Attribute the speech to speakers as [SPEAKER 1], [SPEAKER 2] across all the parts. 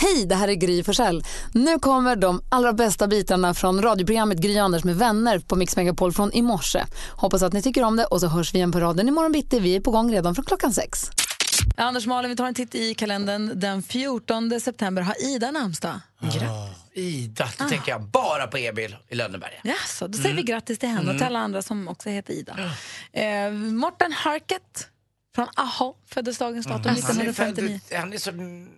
[SPEAKER 1] Hej, det här är Gry Forssell. Nu kommer de allra bästa bitarna från radioprogrammet Gry Anders med vänner på Mix Megapol från i morse. Hoppas att ni tycker om det och så hörs vi igen på raden imorgon bitti. Vi är på gång redan från klockan sex. Anders Malin, vi tar en titt i kalendern. Den 14 september har Ida namnsdag.
[SPEAKER 2] Ah, Ida,
[SPEAKER 1] Ah.
[SPEAKER 2] då tänker jag bara på Emil i Lönneberga.
[SPEAKER 1] Jaså, då säger vi grattis till henne och till alla andra som också heter Ida. Eh, Morten Harket från AHA föddes dagens datum
[SPEAKER 2] Han är, född,
[SPEAKER 1] 1959.
[SPEAKER 2] han är så,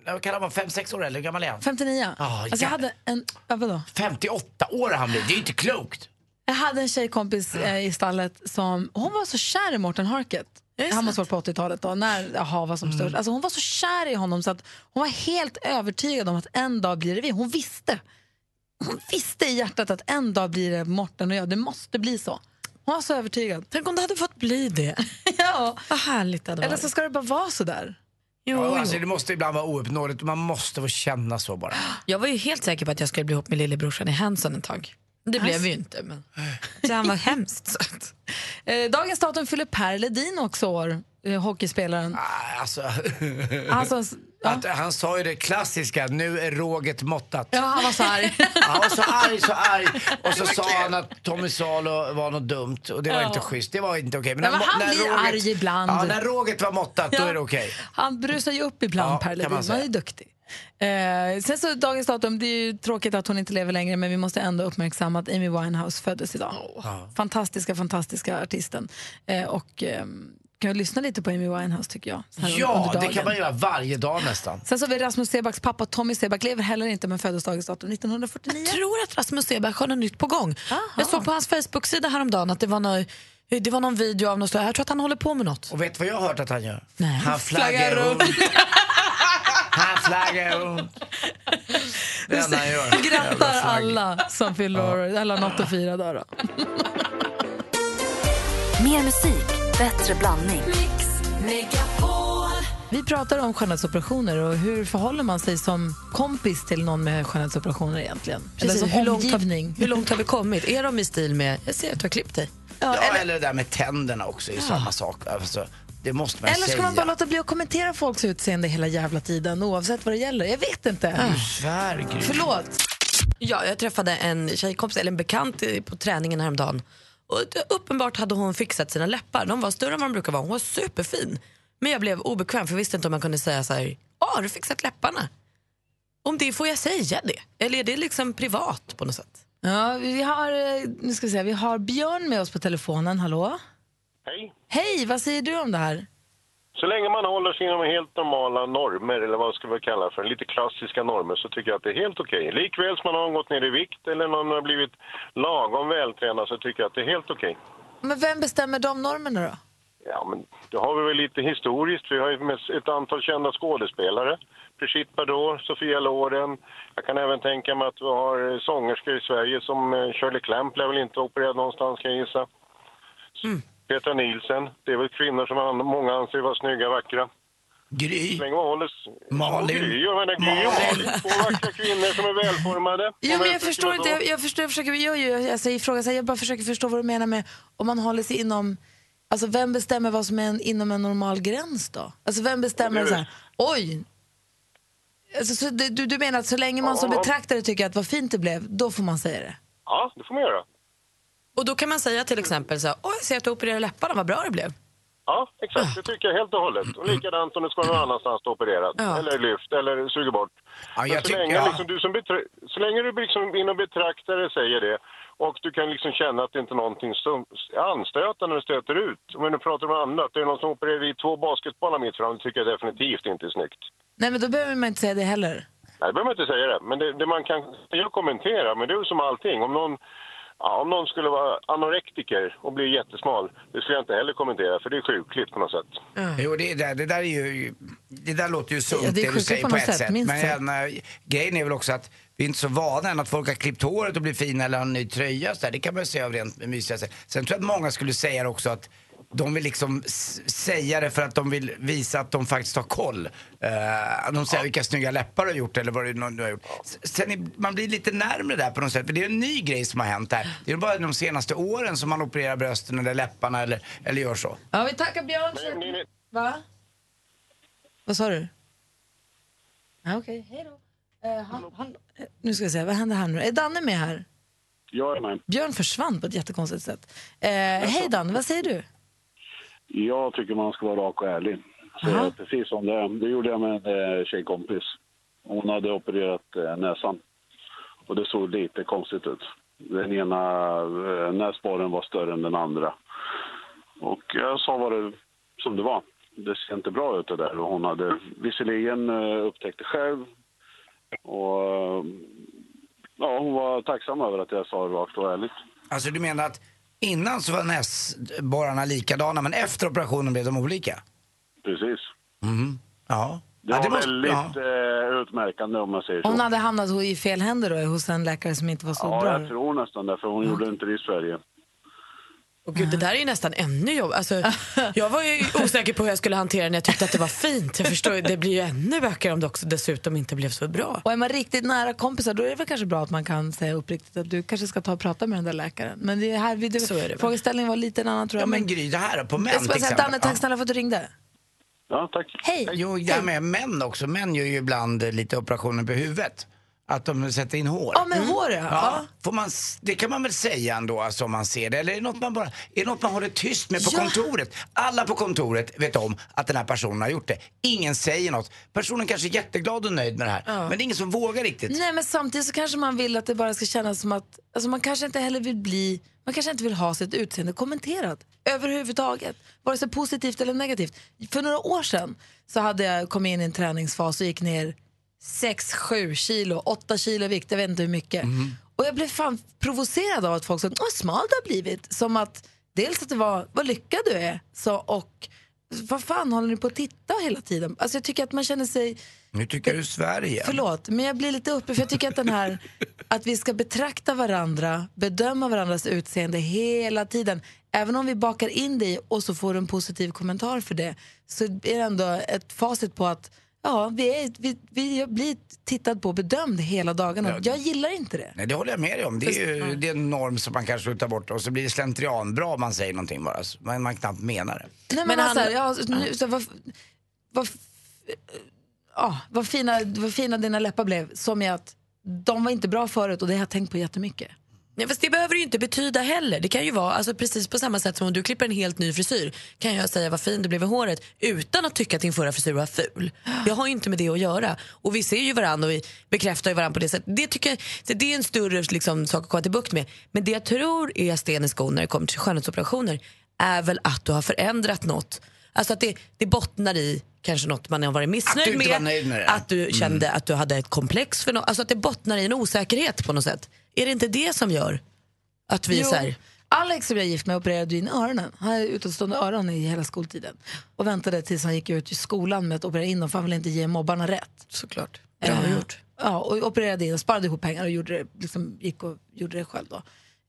[SPEAKER 2] jag kallar honom 5-6 år eller hur gammal är han?
[SPEAKER 1] 59.
[SPEAKER 2] Ah,
[SPEAKER 1] alltså jag
[SPEAKER 2] jävlar.
[SPEAKER 1] hade en... Ja, vadå?
[SPEAKER 2] 58 år har han blivit, det är ju inte klokt!
[SPEAKER 1] Jag hade en tjejkompis eh, i stallet som hon var så kär i Morten Harket. Han måste ha varit på 80-talet då, när aha, var som störst. Alltså hon var så kär i honom så att hon var helt övertygad om att en dag blir det vi. Hon visste. Hon visste i hjärtat att en dag blir det Morten och jag. Det måste bli så. Hon var så övertygad.
[SPEAKER 3] Tänk om det hade fått bli det.
[SPEAKER 1] ja.
[SPEAKER 3] Vad härligt det hade
[SPEAKER 1] Eller
[SPEAKER 3] varit.
[SPEAKER 1] så ska det bara vara så där.
[SPEAKER 3] Jo,
[SPEAKER 2] Ja,
[SPEAKER 3] jo.
[SPEAKER 2] Alltså, det måste ibland vara ouppnåeligt, man måste få känna så bara.
[SPEAKER 3] Jag var ju helt säker på att jag skulle bli ihop med lillebrorsan i Hanson ett tag. Det blev vi ju inte. Men... Så han Äh? var hemskt söt.
[SPEAKER 1] Eh, dagens datum fyller Per Ledin också år, eh, hockeyspelaren.
[SPEAKER 2] Ah, Alltså,
[SPEAKER 1] Alltså, ja.
[SPEAKER 2] att, han sa ju det klassiska, nu är råget måttat.
[SPEAKER 1] ja, han var så arg.
[SPEAKER 2] Han var så arg, så arg. Och så sa han att Tommy Salo var något dumt och det var inte schysst. Det var inte okej.
[SPEAKER 1] Nej, men han blir arg ibland.
[SPEAKER 2] Ja, när råget var måttat, då är det okej.
[SPEAKER 1] Han brusar ju upp ibland,
[SPEAKER 2] Ja,
[SPEAKER 1] Per
[SPEAKER 2] kan
[SPEAKER 1] Ledin.
[SPEAKER 2] man
[SPEAKER 1] Man,
[SPEAKER 2] säga.
[SPEAKER 1] är ju duktig. Eh, sen så dagens datum, det är ju tråkigt att hon inte lever längre men vi måste ändå uppmärksamma att Amy Winehouse föddes idag. Fantastiska, fantastiska artisten. Eh, och eh, kan jag lyssna lite på Amy Winehouse tycker jag. så här under
[SPEAKER 2] Ja, det
[SPEAKER 1] dagen.
[SPEAKER 2] kan man göra varje dag nästan.
[SPEAKER 1] Sen så har vi Rasmus Sebaks pappa Tommy Sebak, lever heller inte men föddes dagens datum 1949.
[SPEAKER 3] Jag tror att Rasmus Seberg har något nytt på gång. Jag såg på hans Facebook-sida häromdagen att det var, nå det var någon video av något slag. Jag tror att han håller på med något.
[SPEAKER 2] Och vet du vad jag har hört att han gör?
[SPEAKER 3] Nej.
[SPEAKER 2] Han flaggar
[SPEAKER 1] Flaggar
[SPEAKER 2] runt. Han flaggar runt. Det är det han gör. Jävla
[SPEAKER 1] Grattar
[SPEAKER 2] flagg.
[SPEAKER 1] alla som fyller år, eller något att fira där då.
[SPEAKER 4] Mer musik, bättre blandning.
[SPEAKER 1] Vi pratar om skönhetsoperationer och hur förhåller man sig som kompis till någon med Eh, skönhetsoperationer egentligen? Eller som
[SPEAKER 3] hur, långt
[SPEAKER 1] omgivning?
[SPEAKER 3] har, hur långt har vi kommit? Är de i stil med, jag ser att du har klippt dig.
[SPEAKER 2] Ja, eller det där med tänderna också, är ju samma sak. Alltså, det måste man
[SPEAKER 1] Eller ska
[SPEAKER 2] säga.
[SPEAKER 1] man bara låta bli att kommentera folks utseende hela jävla tiden oavsett vad det gäller? Jag vet inte.
[SPEAKER 2] Svär, Gry.
[SPEAKER 1] Förlåt.
[SPEAKER 3] Ja, jag träffade en tjejkompis, eller en bekant eh, på träningen häromdagen. Och det- uppenbart hade hon fixat sina läppar. De var större än vad de brukar vara. Hon var superfin. Men jag blev obekväm för jag visste inte om man kunde säga så här, "Ah, har du fixat läpparna? Om det får jag säga det? Eller är det liksom privat på något sätt?
[SPEAKER 1] Ja, vi, har, eh, nu ska vi, se, vi har Björn med oss på telefonen. Hallå?
[SPEAKER 5] Hej.
[SPEAKER 1] Hej, vad säger du om det här?
[SPEAKER 5] Så länge man håller sig inom helt normala normer, eller vad ska vi kalla för, lite klassiska normer, så tycker jag att det är helt okej. Likväl som man har gått ner i vikt eller någon har blivit lagom vältränad så tycker jag att det är helt okej.
[SPEAKER 1] Men vem bestämmer de normerna då?
[SPEAKER 5] Ja, men då har vi väl lite historiskt. Vi har ju med ett antal kända skådespelare. Brigitte Bardot, Sofia Loren. Jag kan även tänka mig att vi har eh, sångerskor i Sverige som eh, Shirley Clamp lär väl inte opererad någonstans kan jag gissa. Petra Nielsen. Det är väl kvinnor som an- många anser vara snygga, vackra.
[SPEAKER 2] Gry.
[SPEAKER 5] Så länge man håller... s-
[SPEAKER 2] Malin.
[SPEAKER 5] Gry, jag menar Gry och Malin. Två vackra kvinnor som är välformade.
[SPEAKER 1] Jo,
[SPEAKER 5] Och
[SPEAKER 1] men jag
[SPEAKER 5] välskötta
[SPEAKER 1] förstår inte.
[SPEAKER 5] då.
[SPEAKER 1] Jag, jag, förstår, jag, försöker, jag, jag, alltså, jag, frågar, så här, jag bara försöker förstå vad du menar med om man håller sig inom... Alltså vem bestämmer vad som är en, inom en normal gräns då? Alltså vem bestämmer
[SPEAKER 5] Det är
[SPEAKER 1] så här, oj! Alltså, så, du, du du menar att så länge man som
[SPEAKER 5] Ja.
[SPEAKER 1] betraktare tycker att vad fint det blev, då får man säga det?
[SPEAKER 5] Ja, det får man göra.
[SPEAKER 3] Och då kan man säga till exempel så här, åh jag ser att du opererade läpparna, vad bra det blev.
[SPEAKER 5] Ja, exakt. Det tycker jag helt och hållet. Och likadant om det ska vara någon annanstans då opererat.
[SPEAKER 3] Ja.
[SPEAKER 5] Eller lyft, eller suger bort.
[SPEAKER 2] Ja,
[SPEAKER 5] Men
[SPEAKER 2] jag
[SPEAKER 5] så,
[SPEAKER 2] tycker-
[SPEAKER 5] länge,
[SPEAKER 2] ja.
[SPEAKER 5] liksom, du som betra- så länge du liksom inom betraktare säger det och du kan liksom känna att det inte är någonting som är anstötande när du stöter ut. Om vi nu pratar om annat, det är någon som opererar i två basketbollar mitt fram, det tycker jag definitivt inte är snyggt.
[SPEAKER 1] Nej, men då behöver man inte säga det heller.
[SPEAKER 5] Nej, det behöver man inte säga det. Men det, det man kan jag kommentera, men det är ju som allting. Om någon, ja, om någon skulle vara anorektiker och bli jättesmal, det skulle jag inte heller kommentera, för det är sjukligt på något sätt.
[SPEAKER 2] Jo, det, där, det där är ju... Det där låter ju sunt
[SPEAKER 1] Ja, det är
[SPEAKER 2] det, du
[SPEAKER 1] sjukt
[SPEAKER 2] säger
[SPEAKER 1] på
[SPEAKER 2] på
[SPEAKER 1] något
[SPEAKER 2] ett
[SPEAKER 1] sätt,
[SPEAKER 2] sätt.
[SPEAKER 1] minst
[SPEAKER 2] Men
[SPEAKER 1] sagt.
[SPEAKER 2] en, eh, grejen är väl också att vi är inte så vana än att folk har klippt håret och blir fina eller har en ny tröja. Så där. Det kan man ju säga av rent mysiga sätt. Sen tror jag att många skulle säga det också att de vill liksom s- säga det för att de vill visa att de faktiskt har koll. Eh, de säger vilka snygga läppar du har gjort eller vad det är du har gjort. S- Sen är, man blir lite närmare där på något sätt. För det är en ny grej som har hänt här. Det är bara de senaste åren som man opererar brösten eller läpparna eller, eller gör så.
[SPEAKER 1] Ja, vi tackar Björn.
[SPEAKER 5] Men ni- ni-
[SPEAKER 1] Va? Vad sa du? Ja, Okej, hej då. Eh, han, han, eh, nu ska vi se, vad händer här nu? Är Danne med här?
[SPEAKER 5] Jag är med.
[SPEAKER 1] Björn försvann på ett jättekonstigt sätt. Eh, hej Danne, vad säger du?
[SPEAKER 5] Jag tycker man ska vara rak och ärlig. Så
[SPEAKER 1] Aha.
[SPEAKER 5] precis som det är. Det gjorde jag med en eh, tjejkompis. Hon hade opererat eh, näsan. Och det såg lite konstigt ut. Den ena eh, näsborren var större än den andra. Och jag sa vad det som det var. Det ser inte bra ut det där. Och hon hade visserligen eh, upptäckt det själv. Och eh, ja, hon var tacksam över att jag sa det rakt och ärligt.
[SPEAKER 2] Alltså du menar att innan så var näsborrarna likadana men efter operationen blev de olika?
[SPEAKER 5] Precis.
[SPEAKER 2] Mhm. Ja.
[SPEAKER 5] Mm-hmm. Det
[SPEAKER 2] ja,
[SPEAKER 5] var
[SPEAKER 2] måste- ja.
[SPEAKER 5] väldigt eh, utmärkande om man säger så.
[SPEAKER 1] Hon hade hamnat ho- i fel händer då, hos en läkare som inte var så
[SPEAKER 5] Ja,
[SPEAKER 1] bra.
[SPEAKER 5] jag tror nästan det, för hon gjorde inte det i Sverige.
[SPEAKER 3] Och gud, det där är ju nästan ännu jobb. Alltså, jag var ju osäker på hur jag skulle hantera det när jag tyckte att det var fint. Jag förstår, ju, det blir ju ännu bökigare om det också dessutom inte blev så bra.
[SPEAKER 1] Och är man riktigt nära kompisar då är det väl kanske bra att man kan säga uppriktigt att du kanske ska ta och prata med den där läkaren. Men det är här vi,
[SPEAKER 3] Så är det väl.
[SPEAKER 1] frågeställningen var lite en annan tror jag.
[SPEAKER 2] ja men Gry, det här på män
[SPEAKER 1] jag ska bara
[SPEAKER 2] till
[SPEAKER 1] säga,
[SPEAKER 2] exempel.
[SPEAKER 1] Danne, tack
[SPEAKER 2] ja.
[SPEAKER 1] snälla för att du ringde.
[SPEAKER 5] Ja, tack.
[SPEAKER 1] Hej!
[SPEAKER 2] Jo, det här med män också. Män gör ju ibland eh, lite operationer på huvudet. Att de sätter in hår.
[SPEAKER 1] Ja, med hår ja.
[SPEAKER 2] Mm. Ja, får man, s- det kan man väl säga ändå alltså, om man ser det. Eller är det något man, bara, är det något man håller tyst med på
[SPEAKER 1] Ja.
[SPEAKER 2] kontoret? Alla på kontoret vet om att den här personen har gjort det. Ingen säger något. Personen kanske är jätteglad och nöjd med det här. Men det är ingen som vågar riktigt.
[SPEAKER 1] Nej, men samtidigt så kanske man vill att det bara ska kännas som att alltså man kanske inte heller vill bli, man kanske inte vill ha sitt utseende kommenterat överhuvudtaget, vare sig positivt eller negativt. För några år sedan så hade jag kommit in i en träningsfas och gick ner 6-7 kilo, 8 kilo i vikt, jag vet inte hur mycket. Och jag blev fan provocerad av att folk sa, åh smal du har blivit, som att dels att det var, vad lyckad du är, så, och vad fan håller ni på att titta hela tiden? Alltså jag tycker att man känner sig
[SPEAKER 2] Nu tycker du Sverige.
[SPEAKER 1] Förlåt, men jag blir lite uppe för jag tycker att den här att vi ska betrakta varandra, bedöma varandras utseende hela tiden. Även om vi bakar in det i och så får du en positiv kommentar för det så är det ändå ett facit på att ja, vi, är, vi, vi blir tittad på och bedömd hela dagarna. Jag gillar inte det.
[SPEAKER 2] Nej, det håller jag med dig om. Det är ju det är en norm som man kanske vill ta bort och så blir det slentrianbra om man säger någonting bara. så- Men man knappt menar det.
[SPEAKER 1] Nej, men
[SPEAKER 3] Men
[SPEAKER 1] alltså,
[SPEAKER 3] han-
[SPEAKER 1] ja, nu, så, vad, vad, ja, vad, fina, vad fina dina läppar blev, som i att de var inte bra förut och det har jag tänkt på jättemycket.
[SPEAKER 3] Nej, fast det behöver det ju inte betyda heller. Det kan ju vara alltså, precis på samma sätt som om du klipper en helt ny frisyr kan jag säga vad fin du blev i håret utan att tycka att din förra frisyr var ful. Jag har ju inte med det att göra. Och vi ser ju varandra och vi bekräftar ju varandra på det sättet. Det, tycker jag, så det är en större liksom, sak att komma till bukt med. Men det jag tror är sten i skon när det kommer till skönhetsoperationer är väl att du har förändrat något. Alltså att det, det bottnar i kanske något man har varit missnöjd
[SPEAKER 2] inte
[SPEAKER 3] med.
[SPEAKER 2] var nöjd med det.
[SPEAKER 3] Att du kände att du hade ett komplex för något. Alltså att det bottnar i en osäkerhet på något sätt. Är det inte det som gör att vi är
[SPEAKER 1] Jo,
[SPEAKER 3] så här,
[SPEAKER 1] Alex som jag är gift med opererade ju in öronen. Han hade utomstående öron i hela skoltiden. Och väntade tills han gick ut i skolan med att operera in dem för han ville inte ge mobbarna rätt.
[SPEAKER 3] Såklart. Bra gjort.
[SPEAKER 1] Ja, och opererade in och sparade ihop pengar och gjorde det, liksom, gick och gjorde det själv då.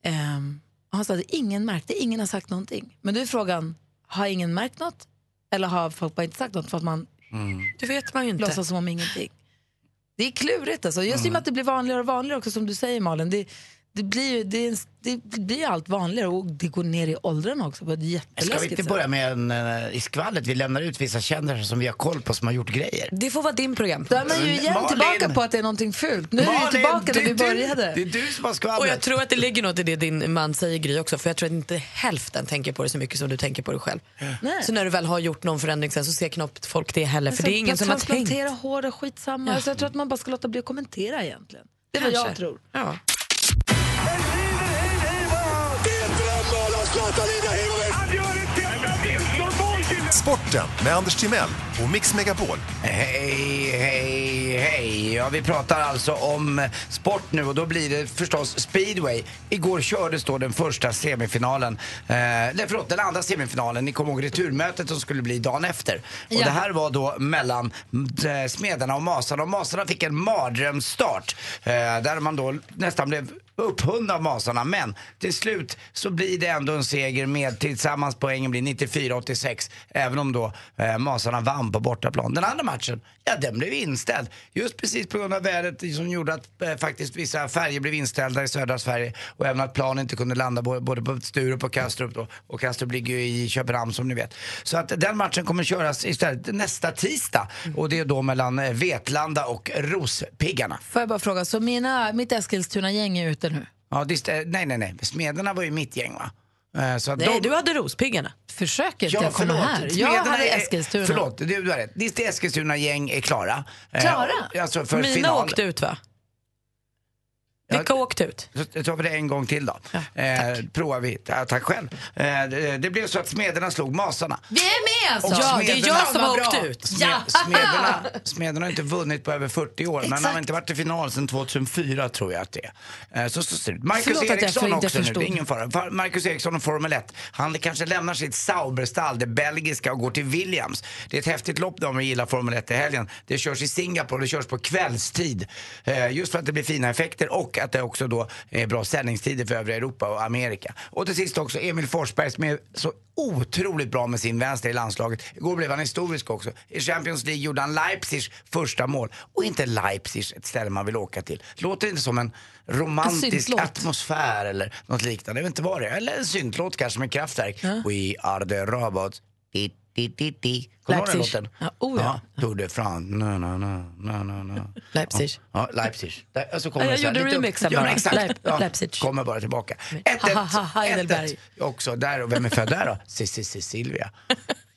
[SPEAKER 1] Ehm, och han sa att ingen märkte, ingen har sagt någonting. Men då är frågan, har ingen märkt något? Eller har folk bara inte sagt något för att man
[SPEAKER 3] Det vet man ju inte. Mm.
[SPEAKER 1] låtsas som om ingenting. Det är klurigt alltså. Just i och med att det blir vanligare och vanligare också som du säger Malin. Det, det blir ju det är en, det, det blir ju allt vanligare och det går ner i åldrarna också på ett
[SPEAKER 2] Ska vi
[SPEAKER 1] jätteläskigt
[SPEAKER 2] inte
[SPEAKER 1] sätt.
[SPEAKER 2] börja med en, eh, i skvallret? Vi lämnar ut vissa kändisar som vi har koll på som har gjort grejer.
[SPEAKER 3] Det får vara din program.
[SPEAKER 1] Då är man ju igen
[SPEAKER 2] Malin!
[SPEAKER 1] tillbaka på att det är någonting fult. Nu är vi ju tillbaka där
[SPEAKER 2] det är
[SPEAKER 1] vi
[SPEAKER 2] du-
[SPEAKER 1] började.
[SPEAKER 2] Det är du som har
[SPEAKER 3] Och
[SPEAKER 2] skvallret.
[SPEAKER 3] jag tror att det ligger något i det din man säger Gry också för jag tror att inte hälften tänker på det så mycket som du tänker på det själv.
[SPEAKER 1] Nej.
[SPEAKER 3] Så när du väl har gjort någon förändring sen så ser knappt folk det heller för
[SPEAKER 1] Alltså,
[SPEAKER 3] det är ingen som har tänkt.
[SPEAKER 1] Transplantera hår och skitsamma. Alltså, jag tror att man bara ska låta bli att kommentera egentligen. Det är vad jag
[SPEAKER 3] Kanske.
[SPEAKER 1] tror.
[SPEAKER 3] Ja.
[SPEAKER 6] Sporten med Anders Timell och Mix Megapol.
[SPEAKER 2] Hej, hej, hej. Ja, vi pratar alltså om eh, sport nu och då blir det förstås speedway. Igår kördes då den första semifinalen, eh, nej förlåt den andra semifinalen. Ni kommer ihåg returmötet som skulle bli dagen efter. Och det här var då mellan mm, eh, Smederna och Masarna och Masarna fick en mardrömsstart. Eh, där man då nästan blev upphund av Masarna. Men till slut så blir det ändå en seger med tillsammans poängen blir 94-86. Även om då eh, Masarna vann på bortaplan. Den andra matchen, ja den blev inställd. Just precis på grund av vädret som gjorde att eh, faktiskt vissa färger blev inställda i södra Sverige. Och även att plan inte kunde landa bo- både på Sturup och Kastrup då. Och Kastrup ligger ju i Köpenhamn som ni vet. Så att den matchen kommer köras istället nästa tisdag. Och det är då mellan eh, Vetlanda och Rospiggarna.
[SPEAKER 1] Får jag bara fråga, så mina, mitt Eskilstuna-gäng är ute nu?
[SPEAKER 2] Ja, dist- eh, nej, nej, nej. Smederna var ju mitt gäng va? Eh, Så att
[SPEAKER 3] Nej,
[SPEAKER 2] de-
[SPEAKER 3] du hade Rospiggarna.
[SPEAKER 1] Försöket
[SPEAKER 2] Ja,
[SPEAKER 1] jag komma
[SPEAKER 2] förlåt.
[SPEAKER 1] här. Jag
[SPEAKER 2] Smederna
[SPEAKER 1] hade
[SPEAKER 2] är-
[SPEAKER 1] Eskilstuna.
[SPEAKER 2] Förlåt, du, du har rätt. Ditt Eskilstuna-gäng är klara. Eh,
[SPEAKER 1] Klara?
[SPEAKER 2] och- Alltså för
[SPEAKER 3] Mina
[SPEAKER 2] final.
[SPEAKER 3] åkte ut va?
[SPEAKER 2] Ja.
[SPEAKER 3] Vilka åkte ut?
[SPEAKER 2] Så tar vi det en gång till då. eh, provar vi. Ja, tack själv. Eh, det, det blev så att smederna slog masarna.
[SPEAKER 1] Vi är med alltså!
[SPEAKER 2] Och
[SPEAKER 3] Ja, det är
[SPEAKER 2] smederna-
[SPEAKER 3] jag som har
[SPEAKER 1] Vad bra.
[SPEAKER 3] åkt ut.
[SPEAKER 2] Sme, smederna, smederna har inte vunnit på över 40 år, men han har inte varit i final sedan 2004 tror jag att det är. Eh, Så, så ser det ut. Marcus
[SPEAKER 1] Förlåt att jag
[SPEAKER 2] Eriksson
[SPEAKER 1] inte
[SPEAKER 2] också nu,
[SPEAKER 1] förstod.
[SPEAKER 2] det är ingen fara. Fa- Marcus Eriksson och Formel 1, han kanske lämnar sitt Sauberstall, det belgiska, och går till Williams. Det är ett häftigt lopp då om vi gillar Formel 1 i helgen. Det körs i Singapore, det körs på kvällstid. Eh, Just för att det blir fina effekter och att det också då är bra sändningstider för övriga Europa och Amerika. Och till sist också Emil Forsberg som är så otroligt bra med sin vänster i landslaget. Igår blev han historisk också. I Champions League gjorde han Leipzigs första mål. Och inte Leipzig, ett ställe man vill åka till. Låter inte som en romantisk
[SPEAKER 1] Syntlåt.
[SPEAKER 2] atmosfär eller något liknande. Jag vet inte vad det är. Eller en syntlåt kanske med kraftverk. We are the robots. Di, di, di, di. Kommer du ihåg den
[SPEAKER 3] Leipzig.
[SPEAKER 2] låten?
[SPEAKER 3] Ja, oh ja.
[SPEAKER 2] Tour de France. Na, na, na, na, na, na.
[SPEAKER 3] Leipzig.
[SPEAKER 2] Ja, Leipzig. Där, och så kommer
[SPEAKER 3] Ja, jag
[SPEAKER 2] det så här
[SPEAKER 3] gjorde
[SPEAKER 2] lite upp.
[SPEAKER 3] remixen
[SPEAKER 2] ja,
[SPEAKER 3] bara.
[SPEAKER 2] men Exakt.
[SPEAKER 3] Leip-
[SPEAKER 2] Ja,
[SPEAKER 3] Leipzig.
[SPEAKER 2] Kommer bara tillbaka. 1-1.
[SPEAKER 3] Ha, ha, ha, Heidelberg.
[SPEAKER 2] 1-1. Också där. Och vem är född där då? Cissi Silvia.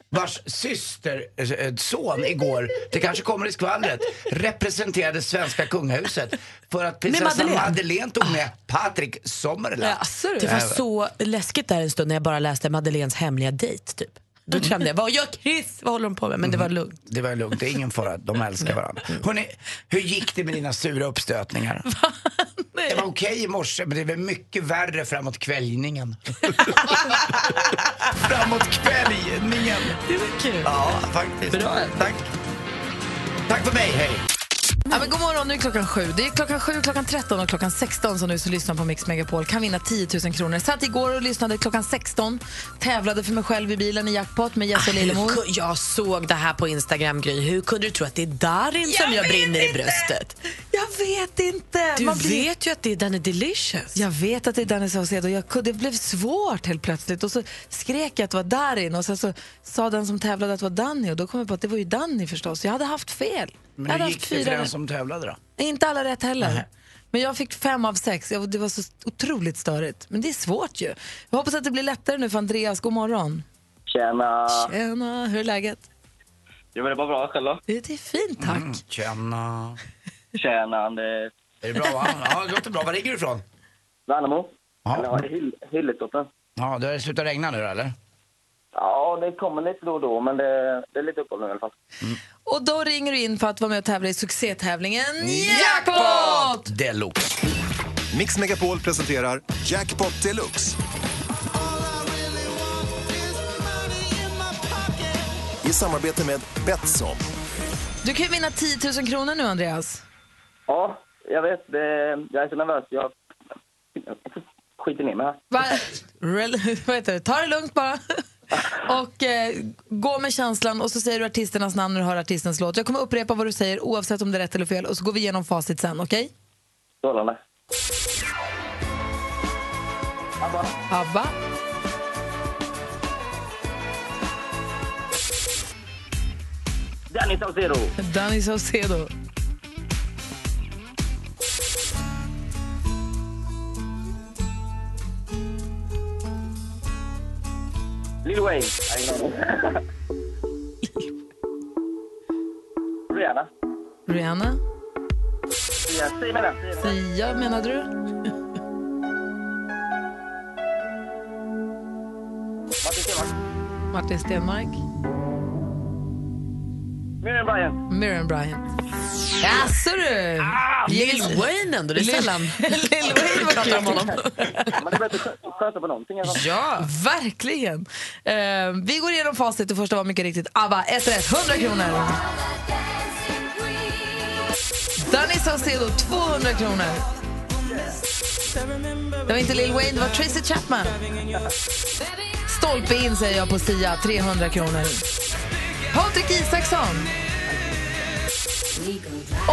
[SPEAKER 2] Vars syster, eh, son igår, det kanske kommer i skvallret, representerade svenska kungahuset för att prinsessan
[SPEAKER 3] Madeleine.
[SPEAKER 2] Madeleine tog med Eh, Patrik Sommerland.
[SPEAKER 3] det var så läskigt där en stund när jag bara läste Madeleines hemliga dejt. Typ. Då kände jag, vad gör Chris? Vad håller de på med? Men det var lugnt.
[SPEAKER 2] Det var lugnt, det är ingen fara. De älskar varandra. Hörrni, hur gick det med dina sura uppstötningar? Det var okej i morse, men det blev mycket värre framåt kvällningen. framåt kvällningen.
[SPEAKER 3] Det var kul.
[SPEAKER 2] Ja, faktiskt.
[SPEAKER 3] Bra.
[SPEAKER 2] Tack. Tack för mig, hej.
[SPEAKER 1] Ja, men god morgon, nu är klockan sju. Det är klockan sju, klockan 13 och klockan 16 som du som lyssnar på Mix Megapol kan vinna 10 000 kronor. Satt igår och lyssnade klockan 16, tävlade för mig själv i bilen i jackpot med Jesse och Lillemor.
[SPEAKER 3] Hur ku- Jag såg det här på Instagram, Gry. Hur kunde du tro att det är Darin som jag brinner i bröstet?
[SPEAKER 1] Jag vet inte!
[SPEAKER 3] Du
[SPEAKER 1] Man blir-
[SPEAKER 3] vet ju att det är Danny Delicious.
[SPEAKER 1] Jag vet att det är Danny Saucedo. Jag kunde, det blev svårt helt plötsligt. Och så skrek jag att det var Darin och sen så sa den som tävlade att det var Danny och då kom jag på att det var ju Danny förstås. Jag hade haft fel. jag
[SPEAKER 2] Men
[SPEAKER 1] hade
[SPEAKER 2] hur
[SPEAKER 1] haft
[SPEAKER 2] gick det för
[SPEAKER 1] fyra
[SPEAKER 2] den
[SPEAKER 1] rätt.
[SPEAKER 2] som tävlade då?
[SPEAKER 1] Inte alla rätt heller.
[SPEAKER 2] Nej.
[SPEAKER 1] Men jag fick fem av sex. Jag, det var så otroligt störigt. Men det är svårt ju. Jag hoppas att det blir lättare nu för Andreas. God morgon.
[SPEAKER 7] Tjena!
[SPEAKER 8] Ah.
[SPEAKER 1] Tjena, hur är läget?
[SPEAKER 7] Jo, men det var bra. Själv då?
[SPEAKER 1] Det är fint, tack.
[SPEAKER 2] Mm. Tjena.
[SPEAKER 7] Tjena, Anders.
[SPEAKER 2] Är det bra va? Ja, det låter bra. Var ligger du ifrån?
[SPEAKER 7] Värnamo?
[SPEAKER 2] Ja.
[SPEAKER 7] Eller har Hill- Hilletoppen?
[SPEAKER 2] Ja, det har slutat regna nu då, eller?
[SPEAKER 7] Ja, det kommer lite då och då, men det, det är lite uppehåll nu i alla fall.
[SPEAKER 1] Och då ringer du in för att vara med och tävla i succétävlingen Jackpot!
[SPEAKER 2] Deluxe.
[SPEAKER 6] Mix Megapol presenterar Jackpot Deluxe. I samarbete med Betsson.
[SPEAKER 1] Du kan ju vinna 10 000 kronor nu, Andreas.
[SPEAKER 7] Ja, jag vet. Det, jag är så nervös. Jag skiter ner mig här.
[SPEAKER 1] Va? Rel- vad heter det? Ta det lugnt bara. Och eh, gå med känslan och så säger du artisternas namn när du hör artistens låt. Jag kommer upprepa vad du säger oavsett om det är rätt eller fel och så går vi igenom facit sen, okej?
[SPEAKER 7] Strålande.
[SPEAKER 1] ABBA.
[SPEAKER 7] Danny Saucedo.
[SPEAKER 1] Danny Saucedo.
[SPEAKER 7] Lil Wayne. Nej, ingen aning. Rihanna.
[SPEAKER 1] Rihanna.
[SPEAKER 7] Ja, Säg mig den. säg mig den.
[SPEAKER 1] Sia, menade du?
[SPEAKER 7] Martin Stenmarck.
[SPEAKER 1] Martin Stenmark.
[SPEAKER 7] Miriam Bryant.
[SPEAKER 1] Miriam Bryant. Jaså du!
[SPEAKER 3] Lil Wayne ändå, det är sällan
[SPEAKER 1] Lill Wayne var
[SPEAKER 3] pratar om
[SPEAKER 1] kul.
[SPEAKER 3] honom.
[SPEAKER 7] Ja, Men det är bättre att sköta på någonting i alla fall.
[SPEAKER 1] Ja, verkligen. Eh, vi går igenom facit. Det första var mycket riktigt ABBA. Ett rätt, 100 kronor. Danny Saucedo, 200 kronor. Det var inte Lil Wayne, det var Tracy Chapman. Stolpe in säger jag på Sia, 300 kronor. Patrik Isaksson.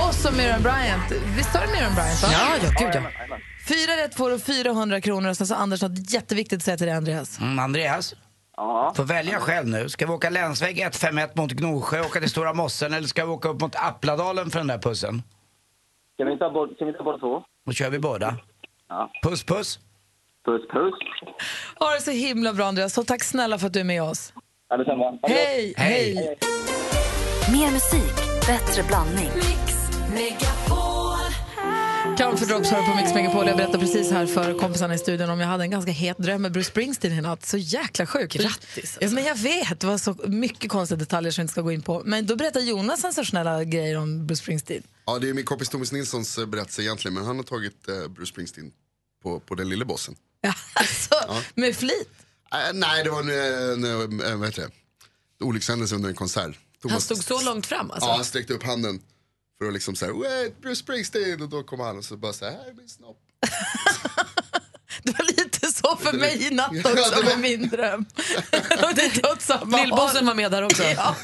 [SPEAKER 1] Och så Miriam Bryant. Visst var det Miriam Bryant? Va?
[SPEAKER 3] Ja, ja, gud ja.
[SPEAKER 7] Jajamän,
[SPEAKER 1] Fyra rätt får du 400 kronor. Och sen så Anders något jätteviktigt att säga till dig, Andreas.
[SPEAKER 2] Mm, Andreas,
[SPEAKER 7] Ja.
[SPEAKER 2] får välja själv nu. Ska vi åka länsväg 151 mot Gnosjö, åka till Stora Mossen eller ska vi åka upp mot Appladalen för den där pussen?
[SPEAKER 7] Kan vi ta bort, kan vi ta bort två?
[SPEAKER 2] Då kör vi båda.
[SPEAKER 7] Ja.
[SPEAKER 2] Puss puss.
[SPEAKER 7] Puss, puss.
[SPEAKER 1] Ha det så himla bra, Andreas. Och tack snälla för att du är med oss.
[SPEAKER 7] Ja, detsamma. Ha det gott.
[SPEAKER 1] Hej!
[SPEAKER 2] Hej.
[SPEAKER 1] hej.
[SPEAKER 4] Mer musik, bättre blandning.
[SPEAKER 1] Count for Drops hör på Mix Megapol. Jag berättade precis här för kompisarna i studion om jag hade en ganska het dröm med Bruce Springsteen i natt. Så jäkla sjuk.
[SPEAKER 3] Grattis, alltså.
[SPEAKER 1] Ja, men jag vet, det var så mycket konstiga detaljer som jag inte ska gå in på. Men då berättade Jonas sensationella grejer om Bruce Springsteen.
[SPEAKER 9] Ja, det är min kompis Thomas Nilssons eh, berättelse egentligen, men han har tagit eh, Bruce Springsteen på, på den lille bossen.
[SPEAKER 1] Ja, alltså, med flit.
[SPEAKER 9] Eh, nej, det var en, en, en, vad heter det? en olyckshändelse under en konsert. Thomas,
[SPEAKER 3] Han stod så långt fram alltså.
[SPEAKER 9] Ja, han sträckte upp handen för att liksom säga wait, Bruce Springsteen och då kom han och så bara så här, här är min snopp.
[SPEAKER 1] Det var lite så för mig i natt också med min dröm. Och det är åt samma
[SPEAKER 3] Lillbossen
[SPEAKER 1] håll.
[SPEAKER 3] var med där också.
[SPEAKER 1] Ja.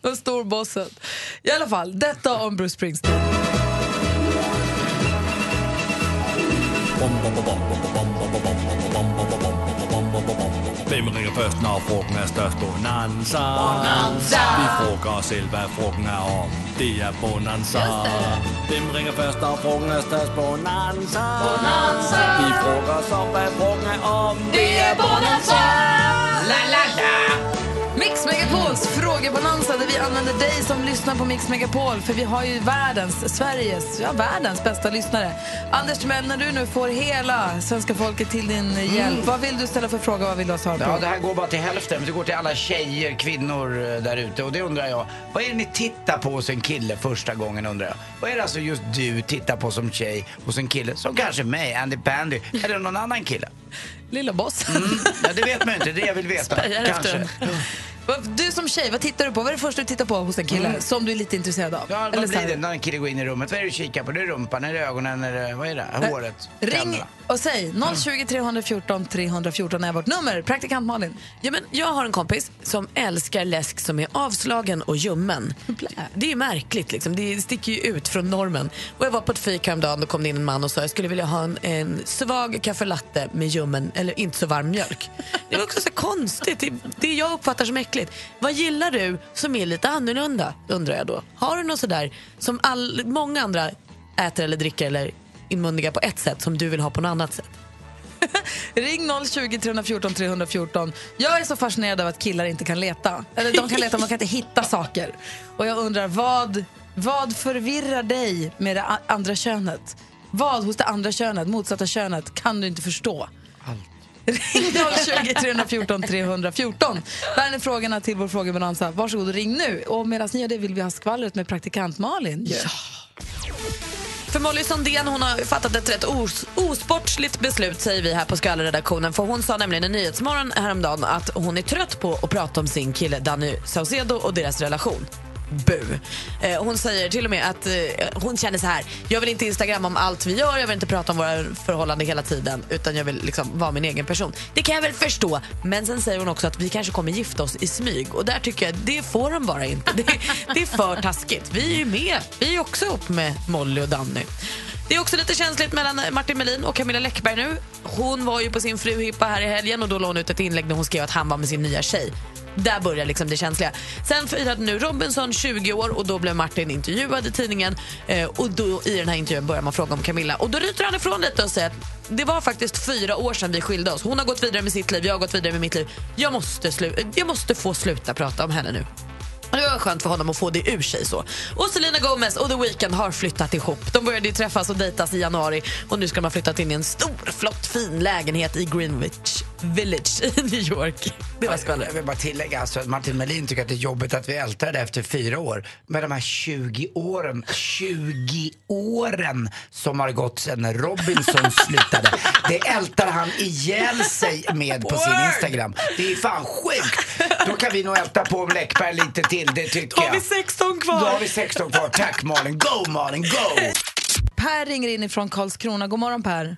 [SPEAKER 1] Och storbossen. I alla fall, detta om Bruce Springsteen.
[SPEAKER 10] Hvem ringer først, når frugten er størst? Bonanza. Bonanza. Vi frugter os selv, hvad frugten er om. Det er Bonanza. Hvem ringer først, når frugten er størst? Bonanza. Bonanza. Vi frugter os om, hvad frugten er om.
[SPEAKER 1] Mix Megapols frågebonanza där vi använder dig som lyssnar på Mix Megapol för vi har ju världens, Sveriges, ja världens bästa lyssnare. Anders Timell, när du nu får hela svenska folket till din hjälp, vad vill du ställa för fråga vad vill du ha svar på?
[SPEAKER 2] Mm. Ja, det här går bara till hälften. Det går till alla tjejer, kvinnor eh, där ute. Och det undrar jag, vad är det ni tittar på hos en kille första gången undrar jag? Vad är det alltså just du tittar på som tjej hos en kille? Som kanske mig, Andy Pandy, eller någon annan kille?
[SPEAKER 1] Lilla bossen.
[SPEAKER 2] Ja, det vet man ju inte, det är det jag vill veta.
[SPEAKER 1] Spejar efter
[SPEAKER 2] Kanske.
[SPEAKER 1] Vad- Du som tjej, vad tittar du på? Vad är det första du tittar på hos en kille som du är lite intresserad av?
[SPEAKER 2] Mm. Ja,
[SPEAKER 1] Eller
[SPEAKER 2] vad
[SPEAKER 1] så
[SPEAKER 2] blir
[SPEAKER 1] här-
[SPEAKER 2] det när en kille går in i rummet? Vad är det du kikar på? Det är rumpan, är det ögonen, är det, vad är det? Håret?
[SPEAKER 1] Ring
[SPEAKER 2] tänderna?
[SPEAKER 1] och säg 020 314 314 är vårt nummer. Praktikant Malin.
[SPEAKER 3] Ja, men jag har en kompis som älskar läsk som är avslagen och ljummen.
[SPEAKER 1] Blä.
[SPEAKER 3] Det är märkligt, liksom. det sticker ju ut från normen. Och jag var på ett fik häromdagen och kom det in en man och sa jag skulle vilja ha en, en svag kaffelatte med ljummen, eller inte så varm mjölk. Det var också så konstigt, det, det jag uppfattar som äckligt. Vad gillar du som är lite annorlunda, undrar jag då. Har du något sådär som all, många andra äter eller dricker eller inmundigar på ett sätt som du vill ha på något annat sätt?
[SPEAKER 1] Ring 020 314 314. Jag är så fascinerad av att killar inte kan leta. Eller de kan leta, men de kan inte hitta saker. Och jag undrar, vad, vad förvirrar dig med det a- andra könet? Vad hos det andra könet, motsatta könet, kan du inte förstå? Allt. Ring 020 314 314. Där är frågorna till vår frågebonanza. Varsågod och ring nu. Och medan ni gör det vill vi ha skvallret med praktikant Malin.
[SPEAKER 3] För Molly Sandén hon har fattat ett rätt os osportsligt beslut säger vi här på Skvallerredaktionen. För hon sa nämligen i Nyhetsmorgon häromdagen att hon är trött på att prata om sin kille Danny Saucedo och deras relation. Bu. Eh, hon säger till och med att eh, hon känner så här. Jag vill inte instagramma om allt vi gör, jag vill inte prata om våra förhållanden hela tiden utan jag vill liksom vara min egen person. Det kan jag väl förstå. Men sen säger hon också att vi kanske kommer gifta oss i smyg och där tycker jag det får de bara inte. Det, det är för taskigt. Vi är ju med. Vi är ju också ihop med Molly och Danny. Det är också lite känsligt mellan eh, Martin Melin och Camilla Läckberg nu. Hon var ju på sin fruhippa här i helgen och då la hon ut ett inlägg där hon skrev att han var med sin nya tjej. Där börjar liksom det känsliga. Sen firade nu Robinson 20 år och då blev Martin intervjuad i tidningen. Eh, och då, I den här intervjun börjar man fråga om Camilla. Och Då ryter han ifrån lite och säger att det var faktiskt fyra år sedan vi skilde oss. Hon har gått vidare med sitt liv, jag har gått vidare med mitt liv. Jag måste, slu- jag måste få sluta prata om henne nu. Och Det var skönt för honom att få det ur sig. så. Och Selena Gomez och The Weeknd har flyttat ihop. De började ju träffas och dejtas i januari och nu ska de ha flyttat in i en stor, flott, fin lägenhet i Greenwich Village i New York. Det var skvallret.
[SPEAKER 2] Jag vill bara tillägga alltså att Martin Melin tycker att det är jobbigt att vi ältar det efter fyra år. Men de här 20 åren, 20 åren som har gått sedan Robinson slutade. Det ältar han ihjäl sig med på sin Instagram. Det är fan sjukt. Då kan vi nog älta på Läckberg lite till, det tycker jag.
[SPEAKER 3] 16
[SPEAKER 2] Då har vi 16 kvar. Tack Malin. Go Malin, go!
[SPEAKER 1] Per ringer in ifrån Karlskrona. God morgon Per.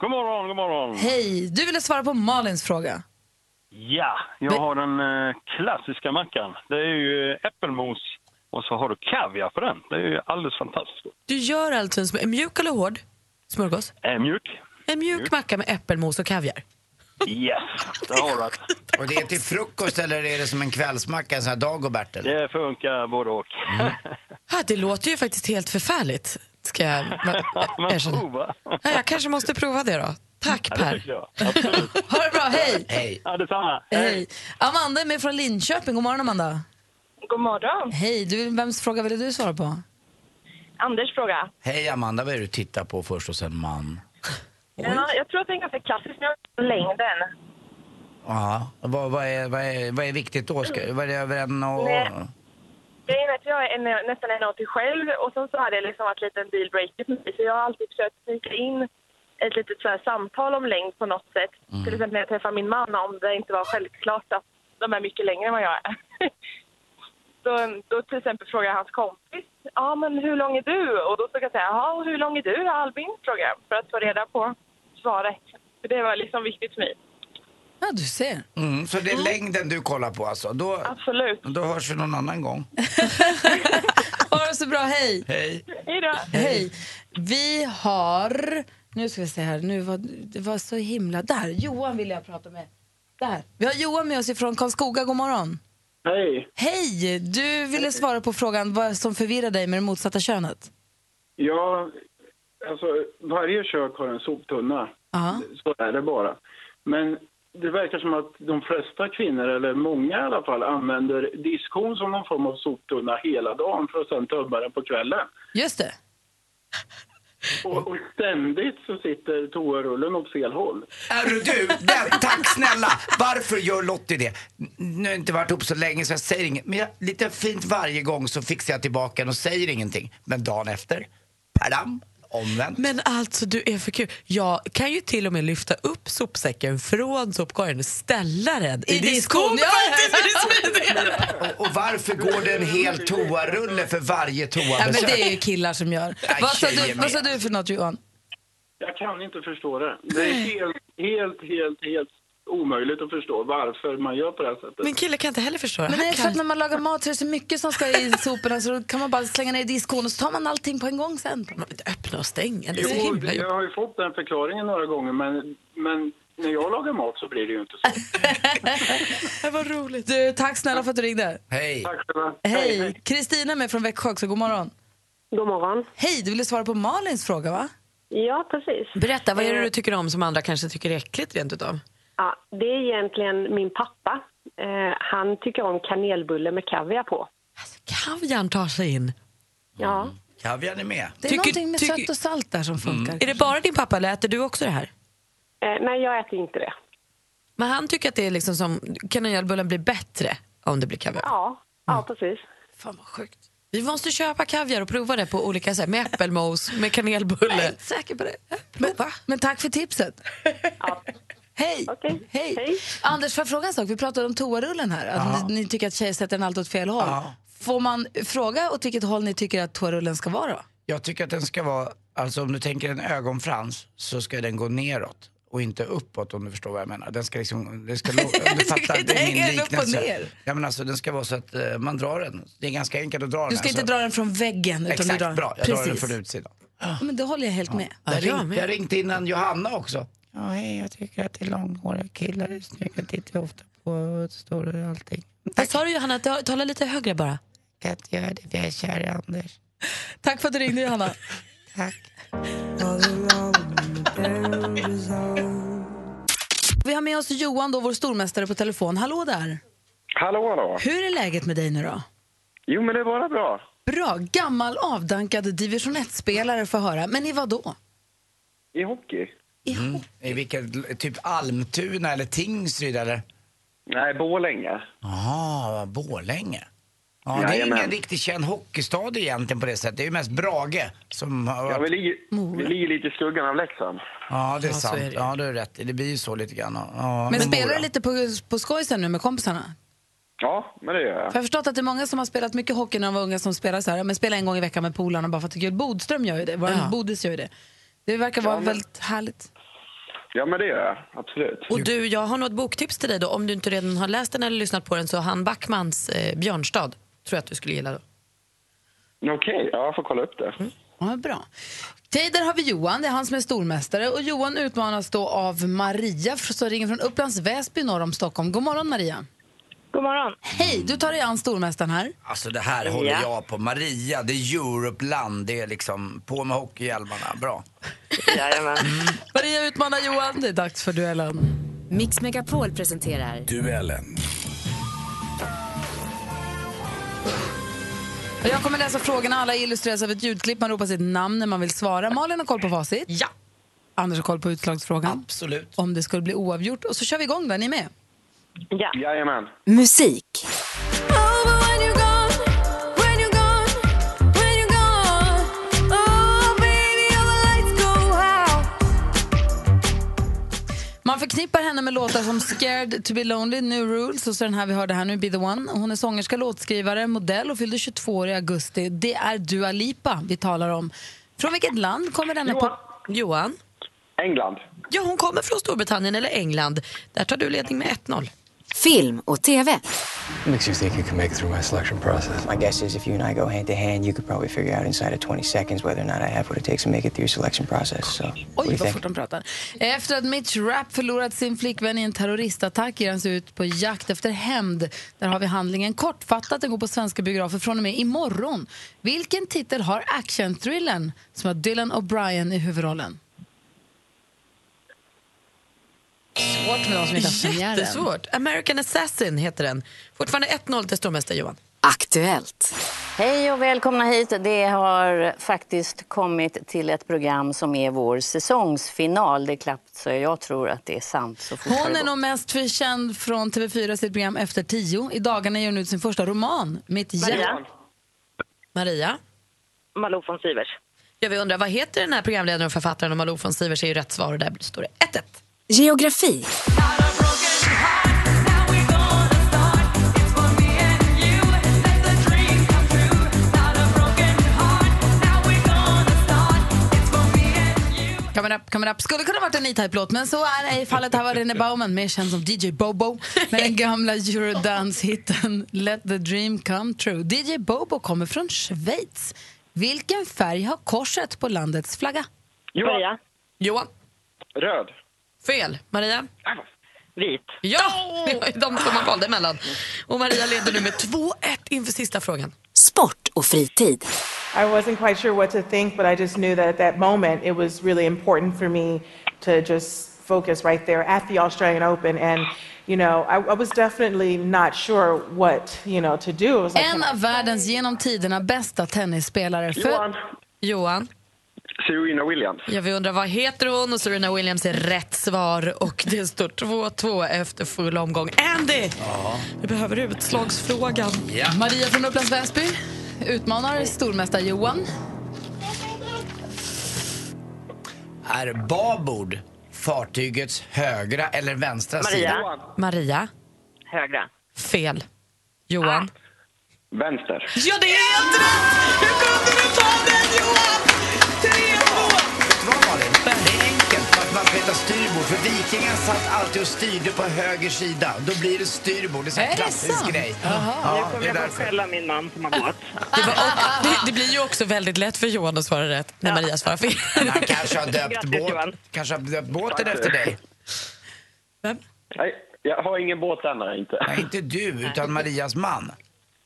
[SPEAKER 8] God morgon, god morgon.
[SPEAKER 1] Hej, du ville svara på Malins fråga.
[SPEAKER 8] Ja, jag har den eh, klassiska mackan. Det är ju eh, äppelmos och så har du kaviar på den. Det är ju alldeles fantastiskt. gott.
[SPEAKER 3] Du gör alltså en smör- mjuk eller hård smörgås?
[SPEAKER 8] Är mjuk?
[SPEAKER 3] En mjuk macka med äppelmos och kaviar.
[SPEAKER 8] Yes, det har du. att-
[SPEAKER 2] Och det är till frukost eller är det som en kvällsmacka, en sån här dagobert eller?
[SPEAKER 8] Det funkar både och.
[SPEAKER 3] Ja, det låter ju faktiskt helt förfärligt. Ska jag
[SPEAKER 8] Man
[SPEAKER 3] va- erkänna.
[SPEAKER 8] provar.
[SPEAKER 3] Ja, jag kanske måste prova det då. Tack
[SPEAKER 8] Ja, det
[SPEAKER 3] Per.
[SPEAKER 8] tycker jag. Absolut.
[SPEAKER 1] Ha det bra, hej!
[SPEAKER 2] Hej.
[SPEAKER 8] Ja, detsamma.
[SPEAKER 1] Hej. Amanda är med från Linköping. God morgon Amanda.
[SPEAKER 11] God morgon.
[SPEAKER 1] Hej, du, vems fråga ville du svara på?
[SPEAKER 11] Anders fråga.
[SPEAKER 2] Hej Amanda, vad är det du tittar på först och sen man?
[SPEAKER 11] Ja, jag tror att det är ganska klassiskt med längden.
[SPEAKER 2] Ja, vad, vad, är, vad, är, vad är viktigt då? Ska, vad är det över en och...
[SPEAKER 11] Nej. Grejen är att jag är en, nästan 1,80 själv och sen så har det liksom varit lite en dealbreaker för mig. Så jag har alltid försökt snika in ett litet så här samtal om längd på något sätt. Till exempel när jag träffar min man om det inte var självklart att de är mycket längre än vad jag är. Då, då till exempel frågar jag hans kompis, ja men hur lång är du? Och då ska jag säga, ja och hur lång är du Albin? Frågar jag för att få reda på svaret. För det var liksom viktigt för mig.
[SPEAKER 1] Ja, du ser.
[SPEAKER 2] Mm, så det är längden du kollar på alltså? Då,
[SPEAKER 11] Absolut.
[SPEAKER 2] då hörs vi någon annan gång.
[SPEAKER 1] Ha det så bra, hej!
[SPEAKER 2] Hej.
[SPEAKER 11] Hej då!
[SPEAKER 1] Hej. Vi har... Nu ska vi se här. Nu var, det var så himla... Där, Johan vill jag prata med. Där. Vi har Johan med oss ifrån Karlskoga. God morgon.
[SPEAKER 8] Hej.
[SPEAKER 1] Hej! Du ville svara på frågan vad som förvirrar dig med det motsatta könet.
[SPEAKER 8] Ja, alltså varje kök har en soptunna.
[SPEAKER 1] Ja.
[SPEAKER 8] Så är det bara. Men det verkar som att de flesta kvinnor, eller många i alla fall, använder diskon som någon form av soptunna hela dagen för att sen tömma den på kvällen.
[SPEAKER 1] Just det.
[SPEAKER 8] Och, och ständigt så sitter toarullen åt fel håll.
[SPEAKER 2] Är du du? Den, tack snälla! Varför gör Lottie det? N- Nu har jag inte varit ihop så länge så jag säger inget. Men jag, lite fint varje gång så fixar jag tillbaka den och säger ingenting. Men dagen efter, padam, omvänt.
[SPEAKER 3] Men alltså du är för kul. Jag kan ju till och med lyfta upp sopsäcken från sopkorgen och ställa den i,
[SPEAKER 1] I diskon,
[SPEAKER 3] diskon.
[SPEAKER 1] ja.
[SPEAKER 3] faktiskt, för det är smidigare.
[SPEAKER 2] Och, och varför går det en hel toarulle för varje
[SPEAKER 1] Ja, men
[SPEAKER 2] toabesök?
[SPEAKER 1] det är ju killar som gör.
[SPEAKER 2] Ja,
[SPEAKER 1] Vad sa du,
[SPEAKER 2] tjejer
[SPEAKER 1] vad sa
[SPEAKER 2] med.
[SPEAKER 1] du för något, Johan?
[SPEAKER 8] Jag kan inte förstå det. Det är helt, helt, helt, helt omöjligt att förstå varför man gör på det här sättet.
[SPEAKER 3] Min kille kan inte heller förstå det.
[SPEAKER 1] Men det
[SPEAKER 3] Han
[SPEAKER 1] är för
[SPEAKER 3] kan-
[SPEAKER 1] att när man lagar mat så är det så mycket som ska i soporna så då kan man bara slänga ner i diskon och så tar man allting på en gång sen.
[SPEAKER 3] Man vill inte öppna och stänga. Det är så
[SPEAKER 8] Jo,
[SPEAKER 3] himla
[SPEAKER 8] jag
[SPEAKER 3] jobbigt.
[SPEAKER 8] har ju fått den förklaringen några gånger, men, men när jag lagar mat så blir det ju inte så.
[SPEAKER 3] Det var roligt.
[SPEAKER 1] Du, tack snälla för att du ringde.
[SPEAKER 2] Hej.
[SPEAKER 8] Tack själva.
[SPEAKER 1] Hej! Kristina är med från Växjö också, god morgon.
[SPEAKER 11] God morgon.
[SPEAKER 1] Hej, du ville svara på Malins fråga va?
[SPEAKER 11] Ja, precis.
[SPEAKER 3] Berätta, vad är det du tycker om som andra kanske tycker är äckligt rent utav?
[SPEAKER 11] Ja, det är egentligen min pappa. Eh, han tycker om kanelbulle med kaviar på.
[SPEAKER 3] Alltså, kaviarn tar sig in.
[SPEAKER 11] Ja.
[SPEAKER 2] Kaviarn är med.
[SPEAKER 1] Det är
[SPEAKER 3] Tycker-
[SPEAKER 1] någonting med
[SPEAKER 3] tycker- Mm.
[SPEAKER 1] sött och salt där som funkar.
[SPEAKER 3] Är det bara din pappa eller äter du också det här?
[SPEAKER 11] Eh, nej, jag äter inte det.
[SPEAKER 3] Men han tycker att det är liksom som, kanelbullen blir bättre om det blir kaviar.
[SPEAKER 11] Ja, ja precis.
[SPEAKER 3] Fan vad sjukt. Vi måste köpa kaviar och prova det på olika sätt, med äppelmos, med kanelbulle. Jag är inte säker på det. Prova.
[SPEAKER 1] Men tack för tipset. Hej.
[SPEAKER 11] Okej.
[SPEAKER 1] Hej!
[SPEAKER 11] Hej.
[SPEAKER 1] Anders, får jag fråga en sak? Vi pratade om toarullen här. Att ni, ni tycker att tjejer sätter den alltid åt fel håll.
[SPEAKER 2] Ja.
[SPEAKER 1] Får man fråga åt vilket håll ni tycker att toarullen ska vara? då?
[SPEAKER 2] Jag tycker att den ska vara, alltså om du tänker en ögonfrans så ska den gå neråt och inte uppåt om du förstår vad jag menar. Den ska liksom, det ska lo- om
[SPEAKER 1] tycker
[SPEAKER 2] du fattar,
[SPEAKER 1] inte
[SPEAKER 2] det är min
[SPEAKER 1] hänger den upp och
[SPEAKER 2] liknelse.
[SPEAKER 1] ner.
[SPEAKER 2] Ja men alltså den ska vara så att eh, man drar den. Det är ganska enkelt att dra den.
[SPEAKER 1] Du ska
[SPEAKER 2] alltså.
[SPEAKER 1] inte dra den från väggen. Utan
[SPEAKER 2] Exakt,
[SPEAKER 1] du drar,
[SPEAKER 2] bra. Jag drar den
[SPEAKER 1] Precis.
[SPEAKER 2] från utsidan.
[SPEAKER 1] Ja, Men det håller jag helt med.
[SPEAKER 3] Ja,
[SPEAKER 2] jag,
[SPEAKER 3] jag
[SPEAKER 2] ring,
[SPEAKER 3] med.
[SPEAKER 2] jag ringde innan Johanna också. Ja, hej, jag tycker att det är långhåriga killar är snygga. Jag tittar ofta på stora och allting.
[SPEAKER 3] Vad sa du Johanna? Ta- Tala lite högre bara.
[SPEAKER 2] Jag kan inte göra det för jag är kär i Anders.
[SPEAKER 1] Tack för att du ringde, Johanna.
[SPEAKER 2] Tack.
[SPEAKER 1] Vi har med oss Johan, då, vår stormästare, på telefon. Hallå där!
[SPEAKER 8] Hallå, hallå.
[SPEAKER 1] Hur är läget med dig nu då?
[SPEAKER 8] Jo, men det är bara bra.
[SPEAKER 1] Bra, gammal avdankad division 1-spelare får höra. Men i vad då?
[SPEAKER 8] I hockey?
[SPEAKER 1] I
[SPEAKER 2] Mm. I vilket, typ Almtuna eller Tingsryd eller?
[SPEAKER 8] Nej, Borlänge.
[SPEAKER 2] Jaha, Borlänge. Ja, det är
[SPEAKER 8] Jajamän.
[SPEAKER 2] ingen riktigt känd hockeystad egentligen på det sättet. Det är ju mest Brage som har
[SPEAKER 8] Ja, vi,
[SPEAKER 2] varit...
[SPEAKER 8] ligger, vi ligger lite i skuggan av Leksand.
[SPEAKER 2] Ja, det är
[SPEAKER 3] Ja, så
[SPEAKER 2] sant.
[SPEAKER 3] är det.
[SPEAKER 2] Ja, du har rätt. Det blir ju så lite grann. Ja,
[SPEAKER 1] Men
[SPEAKER 2] Mora.
[SPEAKER 1] spelar du lite på, på skoj sen nu med kompisarna?
[SPEAKER 12] Ja, men det gör jag.
[SPEAKER 1] För jag har förstått att det är många som har spelat mycket hockey när de var unga som spelar så här, "Ja, men spela en gång i veckan med polarna bara för att det är kul. Bodström gör ju det, vår Bodis gör ju det. Det verkar vara väldigt härligt.
[SPEAKER 12] Ja, men det gör jag. Absolut.
[SPEAKER 3] Och du, jag har något boktips till dig då. Om du inte redan har läst den eller lyssnat på den så han Backmans eh, Björnstad tror jag att du skulle gilla. Då.
[SPEAKER 12] Okej, ja, jag får kolla upp det.
[SPEAKER 1] Ja, bra. Okej, där har vi Johan, det är han som är stormästare. Och Johan utmanas då av Maria fr- som ringer från Upplands Väsby norr om Stockholm. God morgon Maria.
[SPEAKER 11] God morgon.
[SPEAKER 1] Hej, du tar dig an stormästaren här.
[SPEAKER 2] Alltså det här håller jag på. Maria, det är Europeland. Det är liksom på med hockeyhjälmarna. Bra.
[SPEAKER 11] Jajamän.
[SPEAKER 1] Maria utmanar Johan, det är dags för duellen.
[SPEAKER 4] Mix Megapol presenterar
[SPEAKER 2] Duellen.
[SPEAKER 1] Och jag kommer läsa frågorna, alla illustreras av ett ljudklipp. Man ropar sitt namn när man vill svara. Malin har koll på facit.
[SPEAKER 3] Ja.
[SPEAKER 1] Anders har koll på utslagsfrågan.
[SPEAKER 2] Absolut.
[SPEAKER 1] Om det skulle bli oavgjort. Och så kör vi igång där, ni är med?
[SPEAKER 11] Ja.
[SPEAKER 12] Jajamän.
[SPEAKER 4] musik.
[SPEAKER 1] Oh, Man förknippar henne med låtar som Scared to be lonely, New Rules och så den här vi hörde här nu, Be the one. Hon är sångerska, låtskrivare, modell och fyllde 22 år i augusti. Det är Dua Lipa vi talar om. Från vilket land kommer denna... Johan.
[SPEAKER 3] Johan?
[SPEAKER 12] England.
[SPEAKER 3] Ja, hon kommer från Storbritannien eller England. Där tar du ledning med 1-0.
[SPEAKER 4] Film och TV.
[SPEAKER 13] makes you think you can make it through my selection process?
[SPEAKER 14] My guess is if you and I go hand to hand, you could probably figure out inside of 20 seconds whether or not I have what it takes to make it through your selection process. So, what do
[SPEAKER 1] Oj,
[SPEAKER 14] you
[SPEAKER 1] vad
[SPEAKER 14] think?
[SPEAKER 1] fort de pratar. Efter att Mitch Rapp förlorat sin flickvän i en terroristattack ger han sig ut på jakt efter hämnd. Där har vi handlingen kortfattat. Den går på svenska biografer från och med imorgon. Vilken titel har actionthrillern som har Dylan O'Brien i huvudrollen? Svårt med de som inte har premiären.
[SPEAKER 3] Jättesvårt. American Assassin heter den. Fortfarande 1-0 till stormästare Johan.
[SPEAKER 4] Aktuellt.
[SPEAKER 15] Hej och välkomna hit. Det har faktiskt kommit till ett program som är vår säsongsfinal. Det är klappt så jag tror att det är sant. Så fort har
[SPEAKER 1] Hon
[SPEAKER 15] det
[SPEAKER 1] är
[SPEAKER 15] gått.
[SPEAKER 1] nog mest för- känd från TV4 sitt program Efter tio. I dagarna ger hon ut sin första roman, Mitt
[SPEAKER 11] Maria.
[SPEAKER 1] hjärta.
[SPEAKER 3] Maria?
[SPEAKER 11] Malou von Sivers.
[SPEAKER 3] Jag vill undra, vad heter den här programledaren och författaren om Malou von Sivers är ju rätt svar och där står det 1-1.
[SPEAKER 4] Geografi.
[SPEAKER 1] Coming up, coming up. Skulle kunna varit en E-Type-låt, men så är ej fallet. Här var Rene Bauman, mer känd som DJ Bobo, med den gamla eurodance-hitten Let the dream come true. DJ Bobo kommer från Schweiz. Vilken färg har korset på landets flagga?
[SPEAKER 11] Johan. Maria.
[SPEAKER 3] Johan.
[SPEAKER 12] Röd.
[SPEAKER 3] Fel. Maria?
[SPEAKER 11] Vit.
[SPEAKER 3] Ja, det var ju de två man valde emellan. Och Maria leder nu med 2-1 inför sista frågan.
[SPEAKER 4] Sport och fritid.
[SPEAKER 16] I wasn't quite sure what to think, but I just knew that at that moment it was really important for me to just focus right there at the Australian Open. And, you know, I, I was definitely not sure what, you know, to do. It was like,
[SPEAKER 1] En av världens genom tiderna bästa tennisspelare. Johan.
[SPEAKER 3] Johan.
[SPEAKER 12] Serena Williams.
[SPEAKER 3] Jag vill undra vad heter hon och Serena Williams är rätt svar och det står 2-2 efter full omgång. Andy! Vi behöver utslagsfrågan.
[SPEAKER 1] Maria från Upplands Väsby utmanar stormästare Johan.
[SPEAKER 2] Är babord fartygets högra eller vänstra sida?
[SPEAKER 3] Maria.
[SPEAKER 11] Högra.
[SPEAKER 3] Fel. Johan.
[SPEAKER 12] Vänster.
[SPEAKER 3] Ah. Ja, det är helt rätt! Hur kunde du ta den, Johan?
[SPEAKER 2] 3-2! Det är enkelt för att man ska heta styrbord. För vikingen satt alltid och styrde på höger sida. Då blir det styrbord. Det är en sån här
[SPEAKER 11] Är det
[SPEAKER 2] klassisk
[SPEAKER 11] sant?
[SPEAKER 2] grej.
[SPEAKER 11] Jaha. Nu kommer jag få
[SPEAKER 2] skälla min man som har båt.
[SPEAKER 3] Det, var, och, det, det blir ju också väldigt lätt för Johan att svara rätt när Maria svarar fel.
[SPEAKER 2] Han kanske har döpt,
[SPEAKER 3] Grattis,
[SPEAKER 2] båt, kanske har döpt båten efter dig.
[SPEAKER 12] Nej, jag har ingen båt än. Nej, inte.
[SPEAKER 2] Nej, inte du, utan Marias man.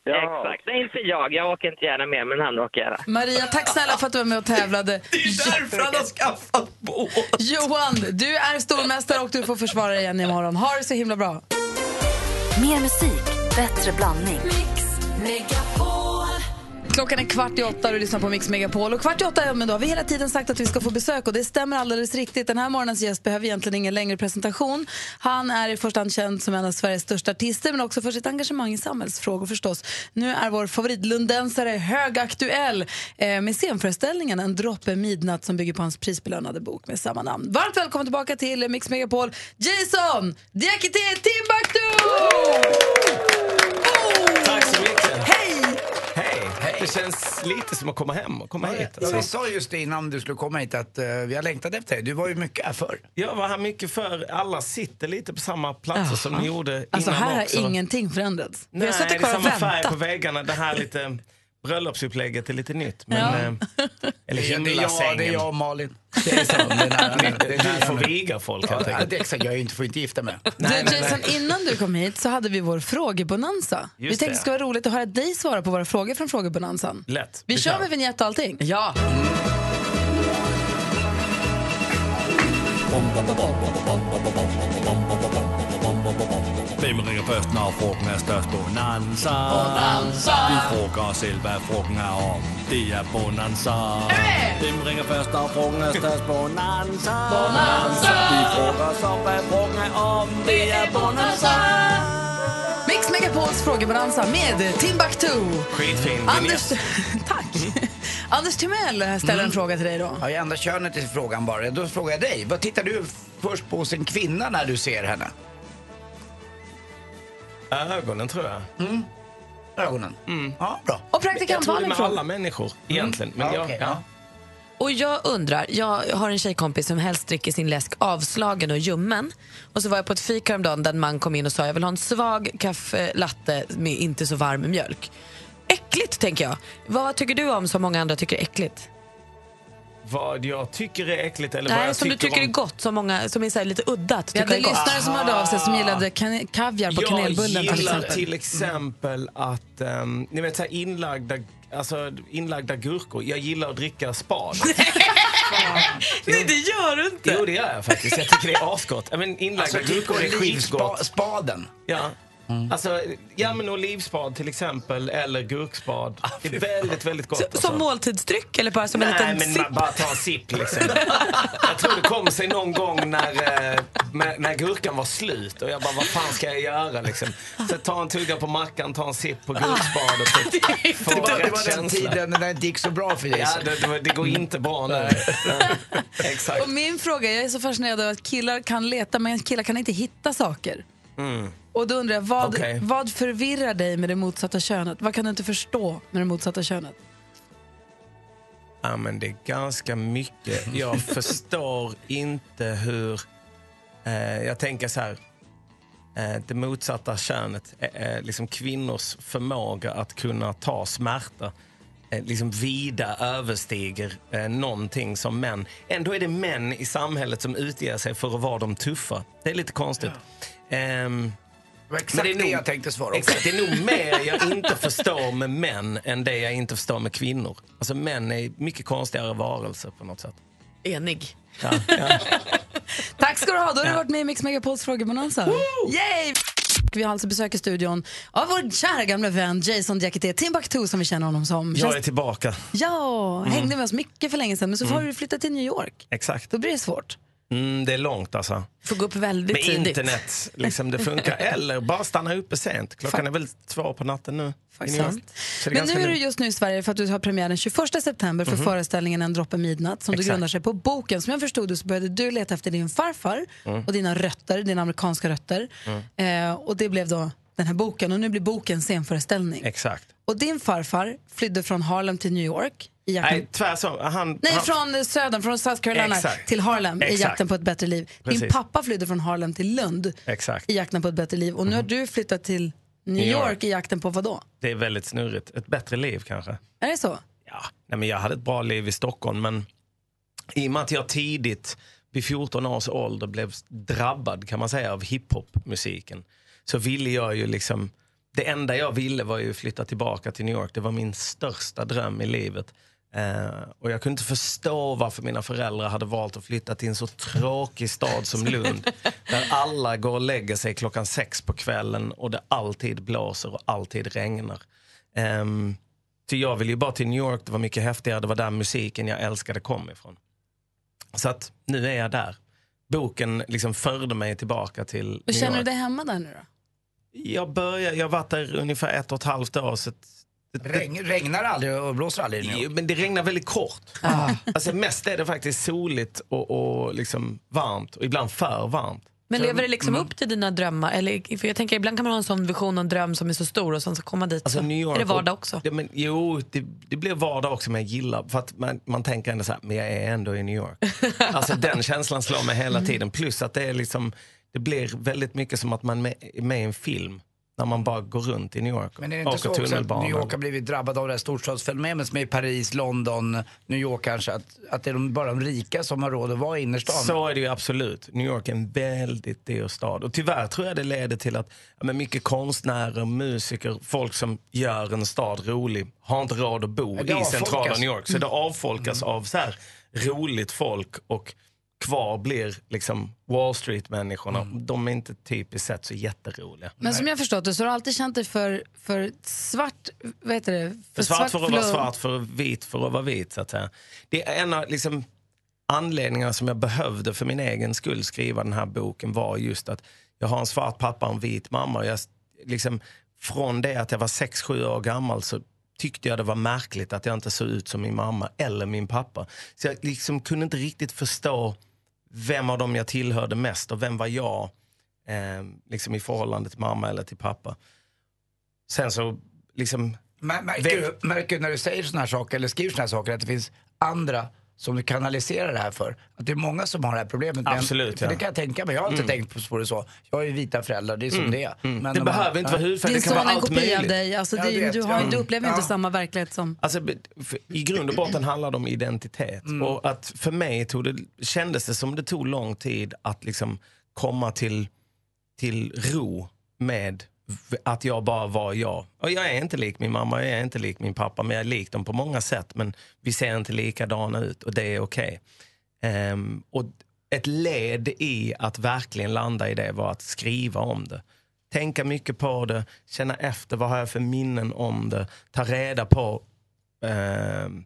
[SPEAKER 12] Exakt.
[SPEAKER 17] Nej, inte jag. Jag åker inte gärna med, men han åker gärna.
[SPEAKER 1] Maria, tack snälla för att du var med och tävlade. Det är därför han har skaffat båt. Johan, du är stormästare och du får försvara dig igen imorgon. Ha det så himla bra.
[SPEAKER 4] Mer musik, bättre blandning.
[SPEAKER 1] Klockan är kvart i åtta och du lyssnar på Mix Megapol. Och kvart i åtta, ja, men då har vi hela tiden sagt att vi ska få besök och det stämmer alldeles riktigt. Den här morgonens gäst behöver egentligen ingen längre presentation. Han är i första hand känd som en av Sveriges största artister men också för sitt engagemang i samhällsfrågor förstås. Nu är vår favoritlundensare högaktuell eh, med scenföreställningen En droppe midnatt som bygger på hans prisbelönade bok med samma namn. Varmt välkommen tillbaka till Mix Megapol, Jason Diakité Timbuktu!
[SPEAKER 18] Tack så mycket.
[SPEAKER 2] Hej!
[SPEAKER 18] Hej. Det känns lite som att komma hem och komma hit.
[SPEAKER 2] Ja, vi sa just det innan du skulle komma hit att eh, vi har längtat efter dig. Du var ju mycket här förr.
[SPEAKER 18] Jag var här mycket för alla sitter lite på samma platser som
[SPEAKER 1] Jaha.
[SPEAKER 18] ni gjorde
[SPEAKER 1] Alltså
[SPEAKER 18] innan
[SPEAKER 1] här har
[SPEAKER 18] också.
[SPEAKER 1] ingenting förändrats.
[SPEAKER 18] Nej,
[SPEAKER 1] vi har
[SPEAKER 18] det
[SPEAKER 1] suttit
[SPEAKER 18] är
[SPEAKER 1] kvar och
[SPEAKER 18] samma färg på
[SPEAKER 1] väntat.
[SPEAKER 18] väggarna. Det här lite bröllopsupplägget är lite nytt. Men,
[SPEAKER 1] Ja.
[SPEAKER 18] eh, eller
[SPEAKER 2] Det är- det är jag-
[SPEAKER 18] himlasängen.
[SPEAKER 2] det är jag och Malin.
[SPEAKER 18] Det är så, det är nära nu.
[SPEAKER 2] Det är nära
[SPEAKER 18] Du får
[SPEAKER 2] nu.
[SPEAKER 18] viga folk helt
[SPEAKER 2] Ja,
[SPEAKER 18] enkelt.
[SPEAKER 2] det är exakt, jag är ju inte, får inte gifta mig.
[SPEAKER 1] du, Jason, innan du kom hit så hade vi vår frågebonanza. Vi
[SPEAKER 2] Just
[SPEAKER 1] tänkte
[SPEAKER 2] det.
[SPEAKER 1] det skulle vara roligt att höra dig svara på våra frågor från frågebonanzan.
[SPEAKER 18] Lätt.
[SPEAKER 1] Vi, kör med vignett och allting.
[SPEAKER 3] Ja.
[SPEAKER 10] Vem ringer först när frågan är störst? Bonanza.
[SPEAKER 19] Bonanza.
[SPEAKER 10] Vi frågar oss själva vad frågan är om. Det är bonanza. Vem ringer först när frågan är störst? Bonanza.
[SPEAKER 19] Bonanza.
[SPEAKER 10] Vi frågar oss om vad frågan är om. Det är bonanza.
[SPEAKER 1] Mix Megapols frågebonanza med Timbuktu.
[SPEAKER 18] Skitfin
[SPEAKER 1] Anders, tack. Anders Timell ställer en
[SPEAKER 2] Mm.
[SPEAKER 1] fråga till dig då.
[SPEAKER 2] Ja, jag ändrar könet i frågan bara. Då frågar jag dig. Vad tittar du först på hos en kvinna när du ser henne?
[SPEAKER 18] Ögonen tror jag.
[SPEAKER 2] Mm. Ögonen? Mm. Ja, bra.
[SPEAKER 1] Och
[SPEAKER 18] Jag tror det är
[SPEAKER 3] praktikantvalin
[SPEAKER 18] med alla människor egentligen. Men
[SPEAKER 2] Ja,
[SPEAKER 18] jag,
[SPEAKER 2] okej,
[SPEAKER 18] ja.
[SPEAKER 3] Och jag undrar, jag har en tjejkompis som helst dricker sin läsk avslagen och ljummen. Och så var jag på ett fik häromdagen där en man kom in och sa jag vill ha en svag kaffelatte med inte så varm mjölk. Äckligt tänker jag. Vad tycker du om som många andra tycker är äckligt?
[SPEAKER 18] Vad jag tycker är äckligt eller vad
[SPEAKER 3] Nej,
[SPEAKER 18] jag
[SPEAKER 3] som du tycker
[SPEAKER 18] om...
[SPEAKER 3] är gott, som många som är så här lite udda att
[SPEAKER 1] Vi
[SPEAKER 3] tycka
[SPEAKER 1] hade
[SPEAKER 3] är gott.
[SPEAKER 1] lyssnare som hörde av sig som gillade kan- kaviar på kanelbullen
[SPEAKER 18] Jag
[SPEAKER 1] till
[SPEAKER 18] gillar
[SPEAKER 1] exempel.
[SPEAKER 18] till exempel att, ehm, ni vet så här inlagda, alltså, inlagda gurkor. Jag gillar att dricka spad.
[SPEAKER 3] Nej, det gör du inte.
[SPEAKER 18] Jo, det gör jag faktiskt. Jag tycker det är asgott. Ja, men inlagda
[SPEAKER 2] Alltså,
[SPEAKER 18] gurkor är
[SPEAKER 2] skivspa-
[SPEAKER 18] skitgott.
[SPEAKER 2] spaden.
[SPEAKER 18] Ja. Alltså, ja men olivspad till exempel, eller gurkspad. Det är väldigt, väldigt gott. alltså.
[SPEAKER 3] Så, som måltidsdryck eller bara som en
[SPEAKER 18] Nej,
[SPEAKER 3] liten
[SPEAKER 18] men
[SPEAKER 3] sipp?
[SPEAKER 18] man bara ta en sipp liksom. jag tror det kom sig någon gång när, eh, när- när gurkan var slut och jag bara, vad fan ska jag göra liksom? Så ta en tugga på mackan, ta en sipp på gurkspadet. och typ få
[SPEAKER 2] Ah. Det var, det
[SPEAKER 18] rätt
[SPEAKER 2] var den
[SPEAKER 18] känsla.
[SPEAKER 2] tiden när det inte gick så bra för dig.
[SPEAKER 18] Ja, det, det, var- det går inte bra nu. Exakt.
[SPEAKER 1] Och min fråga, jag är så fascinerad av att killar kan leta men killar kan inte hitta saker.
[SPEAKER 18] Mm.
[SPEAKER 1] Och då undrar jag, vad,
[SPEAKER 18] Okej.
[SPEAKER 1] vad förvirrar dig med det motsatta könet? Vad kan du inte förstå med det motsatta könet?
[SPEAKER 18] Ja, men det är ganska mycket. Jag förstår inte hur... Eh, jag tänker så här. Eh, det motsatta könet, eh, eh, liksom kvinnors förmåga att kunna ta smärta eh, liksom vida överstiger eh, någonting som män. Ändå är det män i samhället som utger sig för att vara de tuffa. Det är lite konstigt. Ehm,
[SPEAKER 2] exakt det jag tänkte svara också.
[SPEAKER 18] Exakt, det är nog mer jag inte förstår med män än det jag inte förstår med kvinnor. Alltså män är mycket konstigare varelser på något sätt.
[SPEAKER 3] Enig.
[SPEAKER 18] Ja, ja.
[SPEAKER 1] Tack ska du ha, då har du varit med i Mix Megapols frågebonanza. Yay! Vi har alltså besök i studion av vår kära gamla vän Jason Diakité Timbuktu som vi känner honom som.
[SPEAKER 18] Jag är tillbaka.
[SPEAKER 1] Ja,
[SPEAKER 18] Mm.
[SPEAKER 1] hängde med oss mycket för länge sedan men så får
[SPEAKER 18] Mm.
[SPEAKER 1] du flytta till New York.
[SPEAKER 18] Exakt.
[SPEAKER 1] Då blir det svårt.
[SPEAKER 18] Mm, det är långt alltså.
[SPEAKER 3] Får gå upp väldigt
[SPEAKER 18] Med
[SPEAKER 3] tidigt.
[SPEAKER 18] internet, liksom det funkar. Eller bara stanna uppe sent. Klockan är väl två på natten nu. i New York.
[SPEAKER 1] sant.
[SPEAKER 18] Så
[SPEAKER 1] Men
[SPEAKER 18] det
[SPEAKER 1] nu
[SPEAKER 18] ganska
[SPEAKER 1] är du
[SPEAKER 18] lugnt.
[SPEAKER 1] just nu i Sverige för att du har premiär den 21 september för
[SPEAKER 18] Mhm.
[SPEAKER 1] föreställningen En droppe midnatt som du
[SPEAKER 18] Exakt.
[SPEAKER 1] grundar sig på boken. Som jag förstod det så började du leta efter din farfar
[SPEAKER 18] Mm.
[SPEAKER 1] och dina rötter, dina amerikanska rötter. Mm. Eh, och det blev då den här boken och nu blir boken scenföreställning.
[SPEAKER 18] Exakt.
[SPEAKER 1] Och din farfar flydde från Harlem till New York. I jakten...
[SPEAKER 18] Nej, tvärtom. Han,
[SPEAKER 1] Nej,
[SPEAKER 18] han,
[SPEAKER 1] från södern, från South Carolina
[SPEAKER 18] Exakt.
[SPEAKER 1] till Harlem i
[SPEAKER 18] Exakt.
[SPEAKER 1] jakten på ett bättre liv. Din
[SPEAKER 18] Precis.
[SPEAKER 1] pappa flydde från Harlem till Lund
[SPEAKER 18] Exakt. Mhm.
[SPEAKER 1] i jakten på ett bättre liv. Och nu har du flyttat till New
[SPEAKER 18] New York.
[SPEAKER 1] York i jakten på vad då?
[SPEAKER 18] Det är väldigt snurrigt. Ett bättre liv kanske.
[SPEAKER 1] Är det så?
[SPEAKER 18] Nej, men jag hade ett bra liv i Stockholm, men i och med att jag tidigt, vid 14 års ålder, blev drabbad kan man säga av hiphopmusiken, så ville jag ju liksom... Det enda jag ville var ju flytta tillbaka till New York. Det var min största dröm i livet. Eh, och jag kunde inte förstå varför mina föräldrar hade valt att flytta till en så tråkig stad som Lund. där alla går och lägger sig klockan sex på kvällen och det alltid blåser och alltid regnar. Ehm, så jag ville ju bara till New York, det var mycket häftigare, det var där musiken jag älskade kom ifrån. Så att nu är jag där. Boken liksom förde mig tillbaka till
[SPEAKER 1] Och
[SPEAKER 18] New
[SPEAKER 1] känner du
[SPEAKER 18] York.
[SPEAKER 1] dig hemma där nu då?
[SPEAKER 18] Jag började, jag har varit där ungefär ett och ett halvt år. Så att- det,
[SPEAKER 2] Regn, regnar det aldrig och blåser aldrig i New York?
[SPEAKER 18] Jo, men det regnar väldigt kort. Alltså, mest är det faktiskt soligt och, och liksom varmt. Och ibland för varmt.
[SPEAKER 3] Men lever det liksom
[SPEAKER 18] Mm.
[SPEAKER 3] upp till dina drömmar? Eller, för jag tänker, ibland kan man ha en sån vision och en dröm som är så stor och sen så komma dit
[SPEAKER 18] Alltså,
[SPEAKER 3] så
[SPEAKER 18] New York
[SPEAKER 3] är det vardag
[SPEAKER 18] och-
[SPEAKER 3] också.
[SPEAKER 18] Ja, men, jo, det, det blir vardag också men jag gillar, för att man, man tänker ändå så här, men jag är ändå i New York. alltså den känslan slår mig hela
[SPEAKER 10] Mm.
[SPEAKER 18] tiden. Plus att det är liksom, det blir väldigt mycket som att man med- är med i en film. När man bara går runt i New York.
[SPEAKER 2] Men är det inte så också att New York har blivit drabbad av det här storstadsfenomenet som är i Paris, London, New York kanske? Att, att det är de, bara de rika som har råd att vara i innerstan?
[SPEAKER 18] Så är det ju absolut. New York är en väldigt dyr stad. Och tyvärr tror jag det leder till att ja, men mycket konstnärer, musiker, folk som gör en stad rolig har inte råd att bo
[SPEAKER 10] Ja, det
[SPEAKER 18] i centrala
[SPEAKER 10] avfolkas.
[SPEAKER 18] New York. Så det avfolkas av så här roligt folk och kvar blir liksom Wall Street-människorna. De är inte typiskt sett så jätteroliga.
[SPEAKER 1] Men som jag förstått det så har du alltid känt dig för, för svart, vad heter det?
[SPEAKER 18] För svart för att vara
[SPEAKER 1] förlåt.
[SPEAKER 18] svart, för vit för att vara vit. Så att säga. Det är en av liksom, anledningarna som jag behövde för min egen skull skriva den här boken var just att jag har en svart pappa och en vit mamma. Och jag, s- liksom, från det att jag var 6-7 år gammal så tyckte jag det var märkligt att jag inte såg ut som min mamma eller min pappa. Så jag liksom kunde inte riktigt förstå vem av dem jag tillhörde mest och vem var jag eh, liksom i förhållande till mamma eller till pappa. Sen så liksom
[SPEAKER 2] Mär- Märker du, märker du när du säger såna här saker, eller skriver såna här saker, att det finns andra som du kanaliserar det här för? Att det är många som har det här problemet. men-
[SPEAKER 18] Absolut,
[SPEAKER 2] för
[SPEAKER 18] ja.
[SPEAKER 2] Det kan jag tänka mig. Jag har inte
[SPEAKER 18] Mm.
[SPEAKER 2] tänkt på det så. Jag har ju vita föräldrar, det är som
[SPEAKER 18] Mm,
[SPEAKER 2] det är.
[SPEAKER 18] mm.
[SPEAKER 2] Men
[SPEAKER 18] Det
[SPEAKER 2] de-
[SPEAKER 18] behöver inte
[SPEAKER 2] Ja.
[SPEAKER 18] vara hudfärg,
[SPEAKER 1] Din son är en kopia av dig. Alltså,
[SPEAKER 2] Ja,
[SPEAKER 1] det,
[SPEAKER 2] vet
[SPEAKER 1] du, har,
[SPEAKER 2] jag.
[SPEAKER 1] du upplever inte
[SPEAKER 18] Ja.
[SPEAKER 1] samma verklighet som...
[SPEAKER 18] Alltså, be- för- I grund och botten handlar det om identitet. Och att för mig tog det, kändes det som det tog lång tid att liksom komma till, till ro med v- att jag bara var jag. Och jag är inte lik min mamma, jag är inte lik min pappa, men jag är lik dem på många sätt. Men vi ser inte likadana ut och det är okej. Ehm, och ett led i att verkligen landa i det var att skriva om det. Tänka mycket på det, känna efter vad har jag för minnen om det, ta reda på ehm,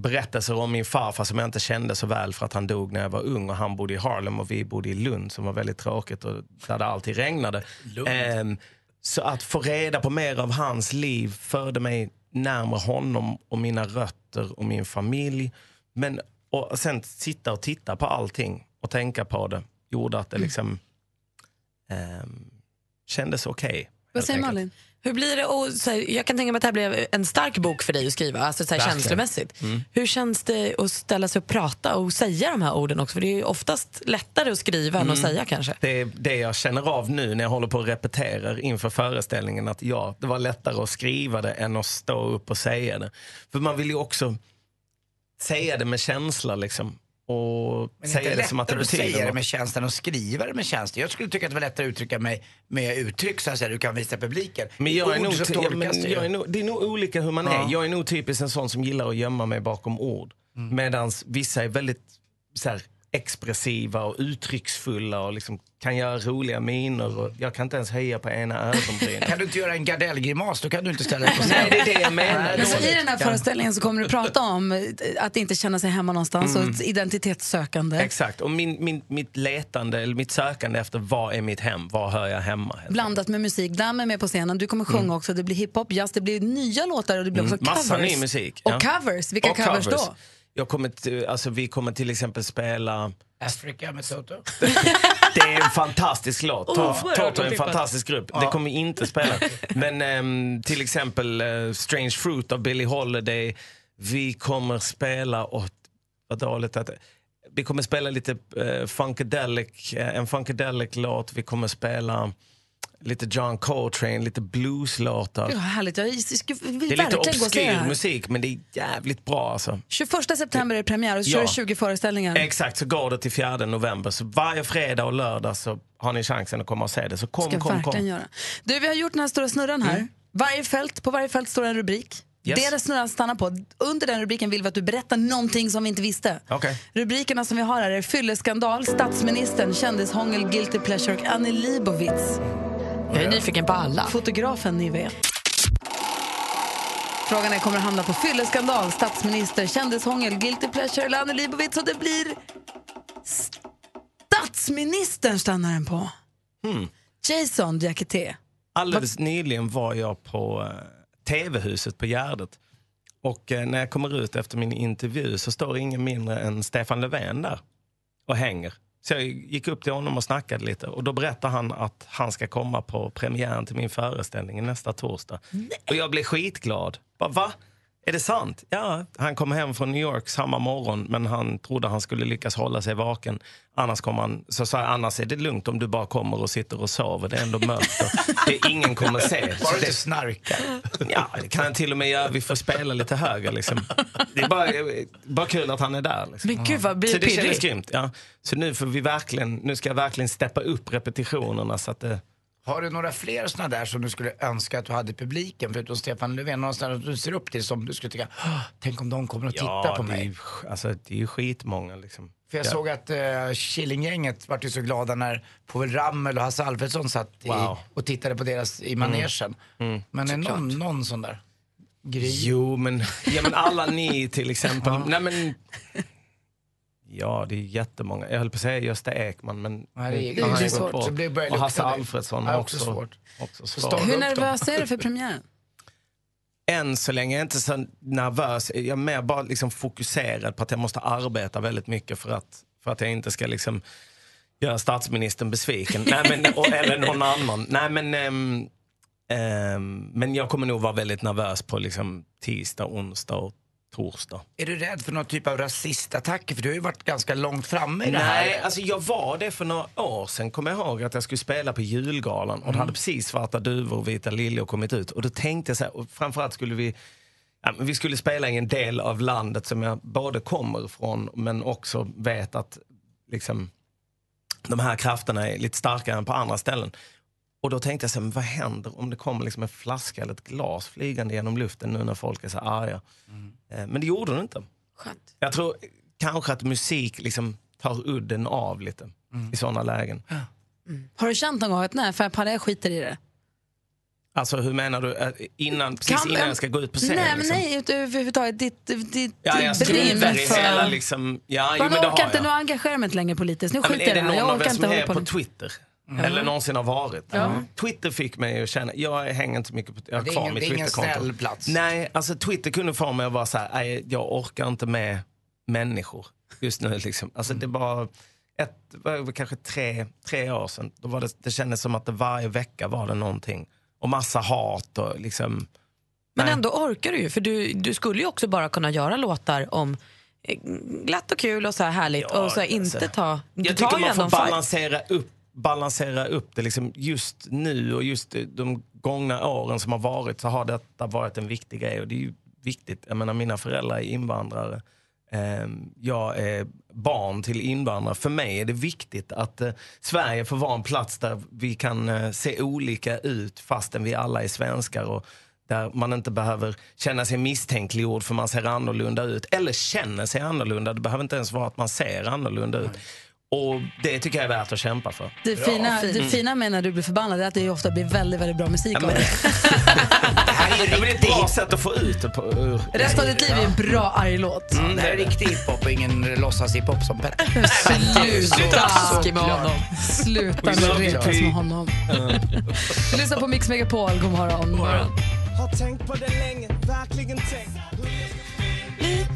[SPEAKER 18] berättelser om min farfar som jag inte kände så väl för att han dog när jag var ung och han bodde i Harlem och vi bodde i Lund som var väldigt tråkigt och där det alltid regnade. Ehm, så att få reda på mer av hans liv förde mig närmare honom och mina rötter och min familj. Men och sen sitta och titta på allting och tänka på det gjorde att det liksom ehm, kändes okej. helt enkelt.
[SPEAKER 3] Hur blir det? Och, så här, jag kan tänka mig att det här blev en stark bok för dig att skriva, alltså, så här,
[SPEAKER 18] Verkligen.
[SPEAKER 3] känslomässigt.
[SPEAKER 18] Mm.
[SPEAKER 3] Hur känns det att ställa sig och prata och säga de här orden också? För det är ju oftast lättare att skriva än att
[SPEAKER 18] Mm.
[SPEAKER 3] säga kanske.
[SPEAKER 18] Det är det jag känner av nu när jag håller på och repeterar inför föreställningen. Att ja, det var lättare att skriva det än att stå upp och säga det. För man vill ju också säga det med känsla liksom. Och
[SPEAKER 2] Men
[SPEAKER 18] säga det som att det
[SPEAKER 2] lättare
[SPEAKER 18] betyder
[SPEAKER 2] att säga det
[SPEAKER 18] något.
[SPEAKER 2] med känslan och skriva det med känslan. Jag skulle tycka att det var lättare att uttrycka mig med uttryck så att säga, du kan visa publiken.
[SPEAKER 18] Men jag är
[SPEAKER 2] Ord
[SPEAKER 18] nog,
[SPEAKER 2] så
[SPEAKER 18] ja,
[SPEAKER 2] tolkas
[SPEAKER 18] men
[SPEAKER 2] det ju.
[SPEAKER 18] jag är nog, det är nog olika hur man
[SPEAKER 2] Ja.
[SPEAKER 18] är. Jag är nog typiskt en sån som gillar att gömma mig bakom ord.
[SPEAKER 2] Mm.
[SPEAKER 18] Medan vissa är väldigt så här, expressiva och uttrycksfulla och liksom kan göra roliga miner. Och jag kan inte ens höja på ena ögonbrynet.
[SPEAKER 2] Kan du inte göra en gardellgrimas, då kan du inte ställa dig på scen.
[SPEAKER 18] Nej, det är det jag menar.
[SPEAKER 2] Nej,
[SPEAKER 1] Så Alltså, I den här
[SPEAKER 2] Ja.
[SPEAKER 1] föreställningen så kommer du prata om eh, att inte känna sig hemma någonstans
[SPEAKER 18] Mm.
[SPEAKER 1] och identitetssökande.
[SPEAKER 18] Exakt. Och min, min, mitt letande, eller mitt sökande efter vad är mitt hem? Var hör jag hemma?
[SPEAKER 1] Blandat med musik. Damm är med på scenen. Du kommer sjunga också. Det blir hiphop, jazz, det blir nya låtar och det blir också
[SPEAKER 18] Mm, Massa
[SPEAKER 1] covers.
[SPEAKER 18] ny musik.
[SPEAKER 1] Och
[SPEAKER 18] ja.
[SPEAKER 1] covers. Vilka
[SPEAKER 18] Och
[SPEAKER 1] covers, då?
[SPEAKER 18] Jag kommer till, alltså, vi kommer till exempel spela...
[SPEAKER 2] Africa med Toto.
[SPEAKER 18] Det är en fantastisk låt.
[SPEAKER 2] Oerhört
[SPEAKER 18] Toto är en
[SPEAKER 2] otippat.
[SPEAKER 18] fantastisk grupp.
[SPEAKER 2] Ja.
[SPEAKER 18] Det kommer vi inte spela. Men ehm, till exempel eh, Strange Fruit av Billie Holiday. Vi kommer spela, och vad dåligt att Vi kommer spela lite eh, funkadelic, eh, en funkadelic-låt. Vi kommer spela lite John Coltrane, lite blues-låtar.
[SPEAKER 1] Gud, vad härligt. Jag skulle- vill
[SPEAKER 18] Det är lite
[SPEAKER 1] verkligen gå och se det
[SPEAKER 18] obskyr
[SPEAKER 1] här.
[SPEAKER 18] musik, men det är jävligt bra alltså.
[SPEAKER 1] 21 september är det premiär och så
[SPEAKER 18] Ja.
[SPEAKER 1] kör du 20 föreställningar.
[SPEAKER 18] Exakt, så går det till 4 november. Så varje fredag och lördag så har ni chansen att komma och se det. Så kom,
[SPEAKER 1] ska jag
[SPEAKER 18] kom,
[SPEAKER 1] verkligen
[SPEAKER 18] kom.
[SPEAKER 1] göra. Du, vi har gjort den här stora snurran här. Varje fält, på varje fält står en rubrik.
[SPEAKER 18] Yes.
[SPEAKER 1] Det är det snurran stannar på. Under den rubriken vill vi att du berättar någonting som vi inte visste.
[SPEAKER 18] Okej.
[SPEAKER 1] Rubrikerna som vi har här är fylleskandal, statsministern, kändishångel, guilty pleasure och Annie Leibovitz.
[SPEAKER 3] Jag är nyfiken på alla.
[SPEAKER 1] Fotografen ni vet. Frågan är, kommer det hamna på fylleskandal, statsminister, kändishångel, guilty pleasure eller Annie Leibovitz? Och det blir statsministern stannar den på.
[SPEAKER 18] Hmm.
[SPEAKER 1] Jason Diakité.
[SPEAKER 18] Alldeles nyligen var jag på eh, TV-huset på Gärdet. Och eh, när jag kommer ut efter min intervju så står ingen mindre än Stefan Löfven där och hänger. Så jag gick upp till honom och snackade lite och då berättade han att han ska komma på premiären till min föreställning nästa torsdag. Och jag blev skitglad. Bara, va? Är det sant? Ja, han kom hem från New York samma morgon men han trodde han skulle lyckas hålla sig vaken. Annars, kom han, så sa jag, annars är det lugnt om du bara kommer och sitter och sover. Det är ändå mörkt och det ingen kommer se.
[SPEAKER 2] Bara du inte
[SPEAKER 18] snarkar. Ja, det kan han till och med göra. Vi får spela lite högre liksom. Det är bara, bara kul att han är där. Liksom.
[SPEAKER 3] Men gud, vad blir
[SPEAKER 18] Så det
[SPEAKER 3] pirrig.
[SPEAKER 18] kändes grymt. Ja. Så nu, får vi verkligen, nu ska jag verkligen steppa upp repetitionerna så att det...
[SPEAKER 2] Har du några fler sådana där som du skulle önska att du hade i publiken förutom Stefan Löfven? Någon sån där som du ser upp till som du skulle tycka, "Åh, tänk om de kommer att titta
[SPEAKER 18] Ja,
[SPEAKER 2] på
[SPEAKER 18] det är
[SPEAKER 2] mig.
[SPEAKER 18] ju- Alltså, det är ju skitmånga liksom.
[SPEAKER 2] För jag
[SPEAKER 18] Ja.
[SPEAKER 2] såg att uh, Killinggänget vart ju så glada när Povel Ramel och Hasse Alfredson satt i,
[SPEAKER 18] Wow.
[SPEAKER 2] och tittade på deras i manegen.
[SPEAKER 18] Mm.
[SPEAKER 2] Men är
[SPEAKER 18] Såklart.
[SPEAKER 2] någon, någon sån där? Gry?
[SPEAKER 18] Jo, men, ja, men alla ni till exempel. Nej, men, ja, det är jättemånga. Jag höll på att säga Gösta Ekman, men...
[SPEAKER 2] Nej, det är-
[SPEAKER 18] han har
[SPEAKER 2] det är
[SPEAKER 18] ju gått
[SPEAKER 2] svårt.
[SPEAKER 18] bort.
[SPEAKER 2] Så det börjar
[SPEAKER 18] och
[SPEAKER 2] lukta
[SPEAKER 18] Hasse
[SPEAKER 2] det.
[SPEAKER 18] Alfredsson
[SPEAKER 2] Ja,
[SPEAKER 18] har
[SPEAKER 2] också
[SPEAKER 18] också,
[SPEAKER 2] svårt.
[SPEAKER 18] också
[SPEAKER 2] starta
[SPEAKER 18] svårt.
[SPEAKER 2] upp
[SPEAKER 20] Hur
[SPEAKER 2] dem.
[SPEAKER 20] nervös är du för premiären?
[SPEAKER 18] Än så länge är jag inte så nervös. Jag är mer bara liksom fokuserad på att jag måste arbeta väldigt mycket för att, för att jag inte ska liksom göra statsministern besviken. Nej, men, och, eller någon annan. Nej, men, ehm, ehm, men jag kommer nog vara väldigt nervös på liksom, tisdag, onsdag och torsdag.
[SPEAKER 2] Är du rädd för någon typ av rasistattacker? För du har ju varit ganska långt framme i det här.
[SPEAKER 18] Nej, alltså jag var det för några år sedan. Kommer jag ihåg att jag skulle spela på julgalan och
[SPEAKER 2] Mm.
[SPEAKER 18] det hade precis Svarta duvor och Vita liljor kommit ut. Och då tänkte jag så här, och framförallt skulle vi Ja, men vi skulle spela i en del av landet som jag både kommer ifrån men också vet att liksom, de här krafterna är lite starkare än på andra ställen. Och då tänkte jag, så här, men vad händer om det kommer liksom en flaska eller ett glas flygande genom luften nu när folk är så arga?
[SPEAKER 2] Mm.
[SPEAKER 18] Eh, Men det gjorde det inte.
[SPEAKER 20] Skönt.
[SPEAKER 18] Jag tror kanske att musik liksom tar udden av lite i sådana lägen.
[SPEAKER 20] Har du känt någon gång att nej, fan jag skiter i det?
[SPEAKER 18] Alltså hur menar du? Eh, Innan, precis
[SPEAKER 20] Kan-
[SPEAKER 18] innan jag ska gå ut på scen?
[SPEAKER 20] nej, men
[SPEAKER 18] liksom.
[SPEAKER 20] nej, ut- överhuvudtaget. Ditt, ditt, ditt
[SPEAKER 18] Ja, jag
[SPEAKER 20] driv
[SPEAKER 18] struntar i
[SPEAKER 20] för...
[SPEAKER 18] hela liksom... Ja, jo,
[SPEAKER 20] Bara,
[SPEAKER 18] men det
[SPEAKER 20] nu
[SPEAKER 18] har
[SPEAKER 20] orkar inte,
[SPEAKER 18] jag.
[SPEAKER 20] nu engagerar jag mig inte längre politiskt. Nu
[SPEAKER 18] Ja, men
[SPEAKER 20] skiter jag
[SPEAKER 18] är
[SPEAKER 20] i
[SPEAKER 18] det
[SPEAKER 20] det här. Jag
[SPEAKER 18] någon av er
[SPEAKER 20] orkar
[SPEAKER 18] som
[SPEAKER 20] inte
[SPEAKER 18] är
[SPEAKER 20] hålla
[SPEAKER 18] på,
[SPEAKER 20] på nu.
[SPEAKER 18] Twitter? Eller någonsin har varit? Twitter fick mig att känna, jag hänger inte mycket på, jag har
[SPEAKER 2] Det är
[SPEAKER 18] alltså, kvar
[SPEAKER 2] ingen-
[SPEAKER 18] mitt
[SPEAKER 2] det är ingen
[SPEAKER 18] Twitterkonto.
[SPEAKER 2] snäll plats.
[SPEAKER 18] Nej, alltså Twitter kunde få mig att vara så här, nej, jag orkar inte med människor just nu liksom. Alltså det var ett, var kanske tre, tre år sedan, då var det, det kändes som att det varje vecka var det någonting. Och massa hat och liksom,
[SPEAKER 3] Men ändå orkar du ju, för du, du skulle ju också bara kunna göra låtar om eh, glatt och kul och så här härligt och så här inte
[SPEAKER 18] alltså.
[SPEAKER 3] ta... Du
[SPEAKER 18] Jag
[SPEAKER 3] tar
[SPEAKER 18] tycker
[SPEAKER 3] ju
[SPEAKER 18] man
[SPEAKER 3] ändå
[SPEAKER 18] får
[SPEAKER 3] en fight.
[SPEAKER 18] balansera upp, balansera upp det. Liksom just nu och just de gångna åren som har varit så har detta varit en viktig grej. Och det är ju viktigt. Jag menar, mina föräldrar är invandrare. Ehm, Jag är barn till invandrare. För mig är det viktigt att eh, Sverige får vara en plats där vi kan eh, se olika ut fastän vi alla är svenskar. Och där man inte behöver känna sig misstänkliggjord för man ser annorlunda ut. Eller känner sig annorlunda. Det behöver inte ens vara att man ser annorlunda ut. Och det tycker jag är värt att kämpa för.
[SPEAKER 20] Det fina, det
[SPEAKER 18] Mm.
[SPEAKER 20] fina med när du blir förbannad är att det ofta blir väldigt, väldigt bra musik av det.
[SPEAKER 18] Ja, men det är ett bra sätt att få ut det på. ur-
[SPEAKER 20] Resten av ditt liv är en bra arg låt.
[SPEAKER 2] Mm, det här är riktig hiphop och ingen låtsas hiphop som Petter.
[SPEAKER 20] Sluta
[SPEAKER 2] taskig med honom.
[SPEAKER 20] Sluta
[SPEAKER 2] We
[SPEAKER 20] med att
[SPEAKER 2] love you.
[SPEAKER 20] retas med honom. Lyssna på Mix Megapol. God morgon.
[SPEAKER 18] Har tänkt på det länge, verkligen tänkt.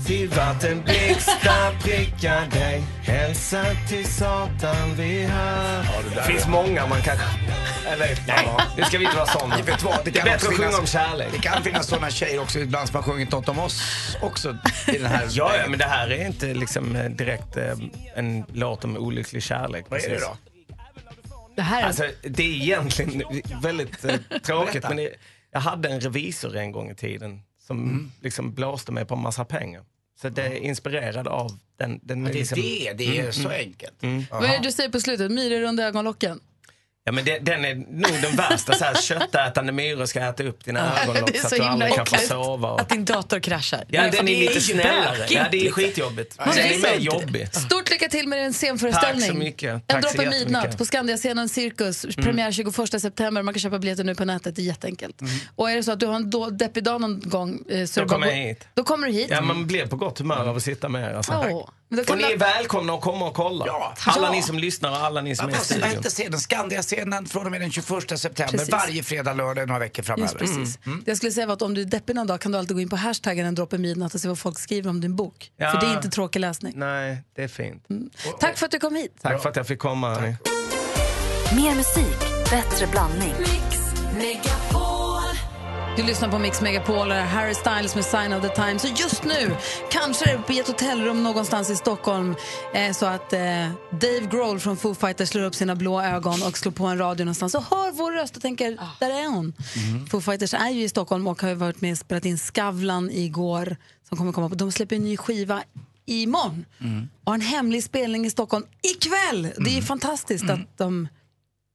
[SPEAKER 18] Till vattenblixtar prickar dig Hälsa till Satan vi hör det, finns många man kan... Eller, nej, nu ska vi inte vara såna.
[SPEAKER 2] Vet du vad,
[SPEAKER 18] Det, är
[SPEAKER 2] kan
[SPEAKER 18] bättre att
[SPEAKER 2] också
[SPEAKER 18] sjunga om
[SPEAKER 2] finnas-
[SPEAKER 18] kärlek.
[SPEAKER 2] Det kan finnas sådana tjejer också ibland som har sjungit något om oss också i den här...
[SPEAKER 18] Ja, ja, men det här är inte liksom eh, direkt eh, en låt om olycklig kärlek.
[SPEAKER 2] Vad är det
[SPEAKER 18] precis.
[SPEAKER 2] då?
[SPEAKER 20] Det här är...
[SPEAKER 18] Alltså, det är egentligen väldigt eh, tråkigt.
[SPEAKER 2] Berätta.
[SPEAKER 18] men det- jag hade en revisor en gång i tiden som liksom blåste mig på en massa pengar. Så det är inspirerad av den. den
[SPEAKER 2] Ja, det är
[SPEAKER 18] liksom,
[SPEAKER 2] det. Det är så enkelt.
[SPEAKER 18] Mm.
[SPEAKER 20] Vad är det du säger på slutet? Myror under ögonlocken?
[SPEAKER 18] Ja, men det, den är nog den värsta. Så här, köttätande myror ska äta upp dina
[SPEAKER 3] Ja.
[SPEAKER 18] ögonlock
[SPEAKER 3] Det är
[SPEAKER 18] så att
[SPEAKER 3] så
[SPEAKER 18] du
[SPEAKER 3] himla
[SPEAKER 18] aldrig kan få
[SPEAKER 3] äckligt.
[SPEAKER 18] sova. Och...
[SPEAKER 3] Att din dator kraschar.
[SPEAKER 18] Ja,
[SPEAKER 3] Nej,
[SPEAKER 18] den
[SPEAKER 3] det
[SPEAKER 18] är lite
[SPEAKER 3] ju
[SPEAKER 18] snällare.
[SPEAKER 3] bökigt,
[SPEAKER 18] Ja, det är
[SPEAKER 3] liksom.
[SPEAKER 18] skitjobbigt.
[SPEAKER 20] Men
[SPEAKER 18] Den
[SPEAKER 20] det är
[SPEAKER 18] är mer
[SPEAKER 20] sant.
[SPEAKER 18] jobbig.
[SPEAKER 20] Stort lycka till med din scenföreställning.
[SPEAKER 18] Tack så mycket.
[SPEAKER 20] En
[SPEAKER 18] Tack så
[SPEAKER 20] droppe
[SPEAKER 18] jättemycket. Mm.
[SPEAKER 20] midnatt på Scandiascenen Cirkus. Premiär 21 september. Man kan köpa biljetter nu på nätet. Det är jätteenkelt. Och är det så att du har en då, deppig dag någon gång eh, så är det
[SPEAKER 18] Mm. Då
[SPEAKER 20] bara
[SPEAKER 18] kommer
[SPEAKER 20] gå-
[SPEAKER 18] jag hit.
[SPEAKER 20] Då kommer du hit.
[SPEAKER 18] Ja, man blir på gott humör av att sitta med er. Alltså.
[SPEAKER 20] Åh,
[SPEAKER 1] Men då
[SPEAKER 18] och
[SPEAKER 1] kan
[SPEAKER 18] ni är
[SPEAKER 1] man-
[SPEAKER 18] välkomna att komma och kolla.
[SPEAKER 2] Ja.
[SPEAKER 18] Alla
[SPEAKER 2] Ja.
[SPEAKER 18] ni som lyssnar och alla ni som är i
[SPEAKER 2] Vad
[SPEAKER 18] studion.
[SPEAKER 2] hette scenen? Skandiascenen från och med den 21 september.
[SPEAKER 1] Precis.
[SPEAKER 2] Varje fredag, lördag, några veckor framöver. Mm.
[SPEAKER 1] Just precis.
[SPEAKER 18] Mm.
[SPEAKER 1] Det jag skulle säga var att om du är deppig någon dag kan du alltid gå in på hashtaggen en droppe midnatt och se vad folk skriver om din bok.
[SPEAKER 18] Ja.
[SPEAKER 1] För det är inte tråkig läsning. Mm.
[SPEAKER 18] Nej, det är fint.
[SPEAKER 1] Tack för att du kom hit.
[SPEAKER 18] Tack för att jag fick komma. hörni.
[SPEAKER 21] Mer musik, bättre blandning.
[SPEAKER 1] Du lyssnar på Mix Megapol och det är Harry Styles med Sign of the Times. Och just nu, kanske är du på ett hotellrum någonstans i Stockholm eh, så att eh, Dave Grohl från Foo Fighters slår upp sina blå ögon och slår på en radio någonstans och hör vår röst och tänker,
[SPEAKER 3] Ah.
[SPEAKER 1] där är hon.
[SPEAKER 3] Mm.
[SPEAKER 1] Foo Fighters är ju i Stockholm och har ju varit med och spelat in Skavlan igår. Som kommer komma på. De släpper en ny skiva imorgon
[SPEAKER 3] Mm.
[SPEAKER 1] och har en hemlig spelning i Stockholm ikväll. Det är ju fantastiskt
[SPEAKER 3] Mm.
[SPEAKER 1] att de...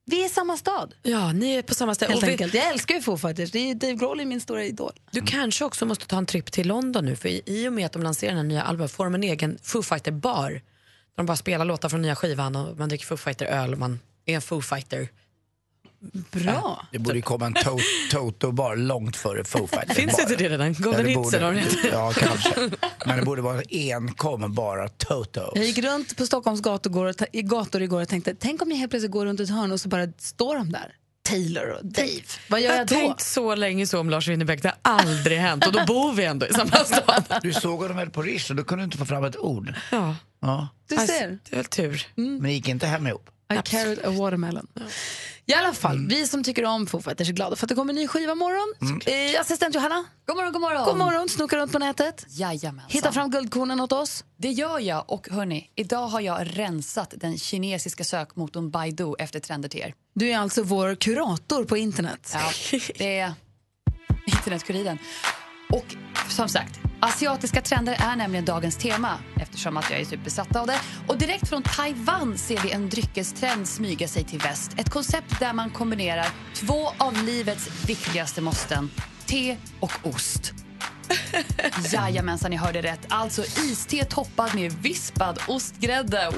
[SPEAKER 1] Vi är i samma stad.
[SPEAKER 3] Ja, ni är på samma ställe.
[SPEAKER 1] Helt
[SPEAKER 3] Och vi-
[SPEAKER 1] enkelt. Jag älskar ju Foo Fighters. Det är ju Dave Grohl är min stora idol.
[SPEAKER 3] Du kanske också måste ta en tripp till London nu för i, i och med att de lanserar den här nya albumet får de en egen Foo Fighter-bar. Där de bara spelar låtar från nya skivan och man dricker Foo Fighter-öl och man är en Foo Fighter.
[SPEAKER 1] Bra.
[SPEAKER 2] Det borde ju komma en to- Toto-bar långt före Foo Fighters.
[SPEAKER 3] Finns inte det redan? Golden
[SPEAKER 2] det
[SPEAKER 3] Hits
[SPEAKER 2] borde-
[SPEAKER 3] eller vad den heter.
[SPEAKER 2] Ja, kanske. Men det borde vara enkom bara Toto.
[SPEAKER 1] Jag gick runt på Stockholms gator igår, och ta- i gator igår och tänkte, tänk om jag helt plötsligt går runt ett hörn och så bara står de där. Taylor och Dave. Vad gör
[SPEAKER 3] jag
[SPEAKER 1] jag,
[SPEAKER 3] har
[SPEAKER 1] då?
[SPEAKER 3] tänkt så länge så om Lars Winnerbäck. Det har aldrig hänt och då bor vi ändå i samma stad.
[SPEAKER 2] Du såg honom väl på Rish och då kunde du inte få fram ett ord.
[SPEAKER 3] Ja.
[SPEAKER 2] Ja.
[SPEAKER 1] Du ser.
[SPEAKER 3] Det var tur.
[SPEAKER 2] Men det gick inte hem ihop.
[SPEAKER 1] I carried a watermelon. I alla fall, vi som tycker om Foo Fighters är glada för att det kommer en ny skiva imorgon. Eh, assistent Johanna,
[SPEAKER 22] God morgon, god morgon.
[SPEAKER 1] god morgon. Snokar runt på nätet.
[SPEAKER 22] Jajamensan.
[SPEAKER 1] Hitta fram guldkornen åt oss.
[SPEAKER 22] Det gör jag. Och hörni, idag har jag rensat den kinesiska sökmotorn Baidu efter trender till er.
[SPEAKER 1] Du är alltså vår kurator på internet.
[SPEAKER 22] Ja, det är internetkuriren. Och som sagt, asiatiska trender är nämligen dagens tema eftersom att jag är superbesatt av det. Och direkt från Taiwan ser vi en dryckestrend smyga sig till väst. Ett koncept där man kombinerar två av livets viktigaste måsten, te och ost. Jajamensan, ni hörde rätt. Alltså iste toppad med vispad ostgrädde.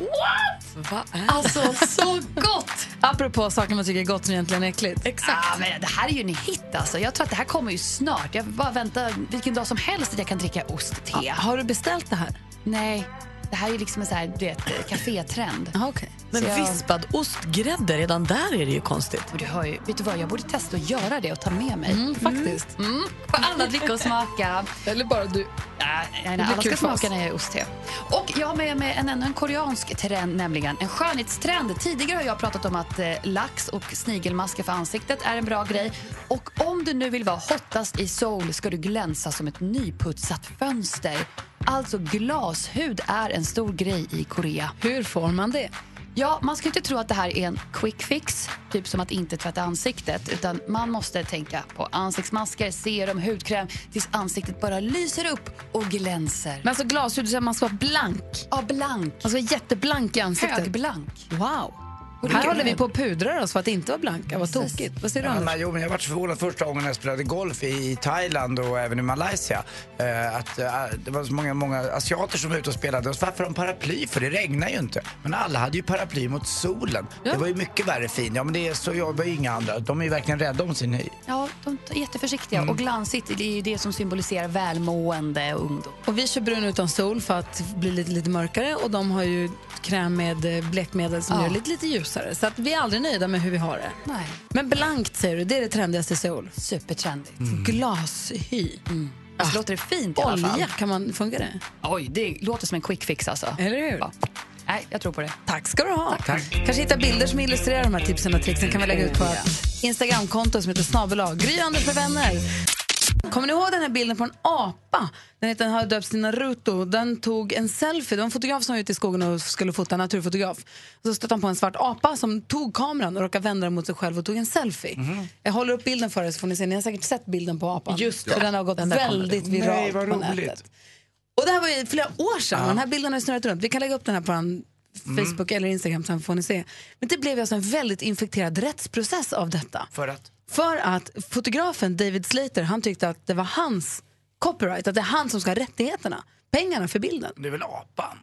[SPEAKER 22] What? Alltså, så gott!
[SPEAKER 1] Apropå saker man tycker är gott som egentligen är äckligt.
[SPEAKER 22] Exakt. Ah, men det här är ju en hit alltså. Jag tror att det här kommer ju snart. Jag bara väntar vilken dag som helst att jag kan dricka ostte.
[SPEAKER 1] har du beställt det här?
[SPEAKER 22] Nej. Det här är liksom en så här, du vet, kafétrend.
[SPEAKER 1] Ah, okay.
[SPEAKER 3] Men vispad ostgrädde, redan där är det ju konstigt.
[SPEAKER 22] Du hör ju, vet du vad, jag borde testa att göra det och ta med mig.
[SPEAKER 1] faktiskt.
[SPEAKER 22] Mm. Mm. För alla dricka och smaka.
[SPEAKER 1] Eller bara du.
[SPEAKER 22] Nej, nej,
[SPEAKER 1] Det blir
[SPEAKER 22] alla
[SPEAKER 1] kul
[SPEAKER 22] ska
[SPEAKER 1] för
[SPEAKER 22] smaka
[SPEAKER 1] oss.
[SPEAKER 22] när jag gör ostte. Och jag har med mig en, ännu en koreansk trend, nämligen en skönhetstrend. Tidigare har jag pratat om att eh, lax och snigelmasker för ansiktet är en bra grej. Och om du nu vill vara hottast i sol ska du glänsa som ett nyputsat fönster. Alltså glashud är en stor grej i Korea.
[SPEAKER 1] Hur får man det?
[SPEAKER 22] Ja, man ska ju inte tro att det här är en quick fix, typ som att inte tvätta ansiktet, utan man måste tänka på ansiktsmasker, serum, hudkräm tills ansiktet bara lyser upp och glänser.
[SPEAKER 1] Men alltså glashud, du säger att man ska vara blank.
[SPEAKER 22] Ja, blank.
[SPEAKER 1] Man ska vara jätteblank i ansiktet.
[SPEAKER 22] Högblank.
[SPEAKER 1] Wow.
[SPEAKER 22] Och det
[SPEAKER 1] Här
[SPEAKER 22] kan-
[SPEAKER 1] håller vi på att pudra oss för att inte vara blanka. Vad tokigt. Vad säger du,
[SPEAKER 2] Ja,
[SPEAKER 1] Anders?
[SPEAKER 2] men, jo, men jag var så förvånad första gången jag spelade golf i Thailand och även i Malaysia. Eh, att, eh, det var så många, många asiater som var ute och spelade. Och så, varför har de paraply? För det regnar ju inte. Men alla hade ju paraply mot solen. Det var ju mycket värre fin. Ja, men det är så jobbar ju inga andra. De är ju verkligen rädda om sin hy.
[SPEAKER 22] Ja, de är jätteförsiktiga. Och glansigt det är ju det som symboliserar välmående och ungdom.
[SPEAKER 1] Och vi kör brun utan sol för att bli lite, lite mörkare och de har ju kräm med eh, blekmedel som
[SPEAKER 22] Ja.
[SPEAKER 1] gör det lite, lite ljusare. Så att vi är aldrig nöjda med hur vi har det.
[SPEAKER 22] Nej.
[SPEAKER 1] Men blankt säger du, det är det trendigaste i sol.
[SPEAKER 22] Supertrendigt.
[SPEAKER 2] Mm.
[SPEAKER 1] Glashy. Mm.
[SPEAKER 22] Alltså, låter det fint i alla fall?
[SPEAKER 1] Olja, kan man funka det?
[SPEAKER 22] Oj, det låter som en quick fix alltså.
[SPEAKER 1] Eller hur?
[SPEAKER 22] Nej, jag tror på det.
[SPEAKER 1] Tack ska du ha. Kanske hitta bilder som illustrerar de här tipsen och tricksen kan vi lägga ut på vårt Instagramkonto som heter snabel-a Gry Anders med vänner. Kommer ni ihåg den här bilden på en apa? Den heter, har döpts till Naruto. Den tog en selfie. Det var en fotograf som var ute i skogen och skulle fota, en naturfotograf. Så stötte han på en svart apa som tog kameran och råkade vända den mot sig själv och tog en selfie. Jag håller upp bilden för er så får ni se. Ni har säkert sett bilden på apan.
[SPEAKER 3] Mhm. Just det.
[SPEAKER 1] För den har gått
[SPEAKER 3] Den där kommer
[SPEAKER 1] väldigt
[SPEAKER 3] du.
[SPEAKER 1] viralt
[SPEAKER 3] Nej, vad
[SPEAKER 1] på
[SPEAKER 3] roligt.
[SPEAKER 1] nätet. Och det här var ju flera år sedan. Den här bilden har ju snurrat runt. Vi kan lägga upp den här på en
[SPEAKER 2] Mm.
[SPEAKER 1] Facebook eller Instagram sen får ni se. Men det blev ju alltså en väldigt infekterad rättsprocess av detta.
[SPEAKER 2] För att?
[SPEAKER 1] För att fotografen David Slater, han tyckte att det var hans copyright, att det är han som ska ha rättigheterna, pengarna för bilden.
[SPEAKER 2] Det är väl apan?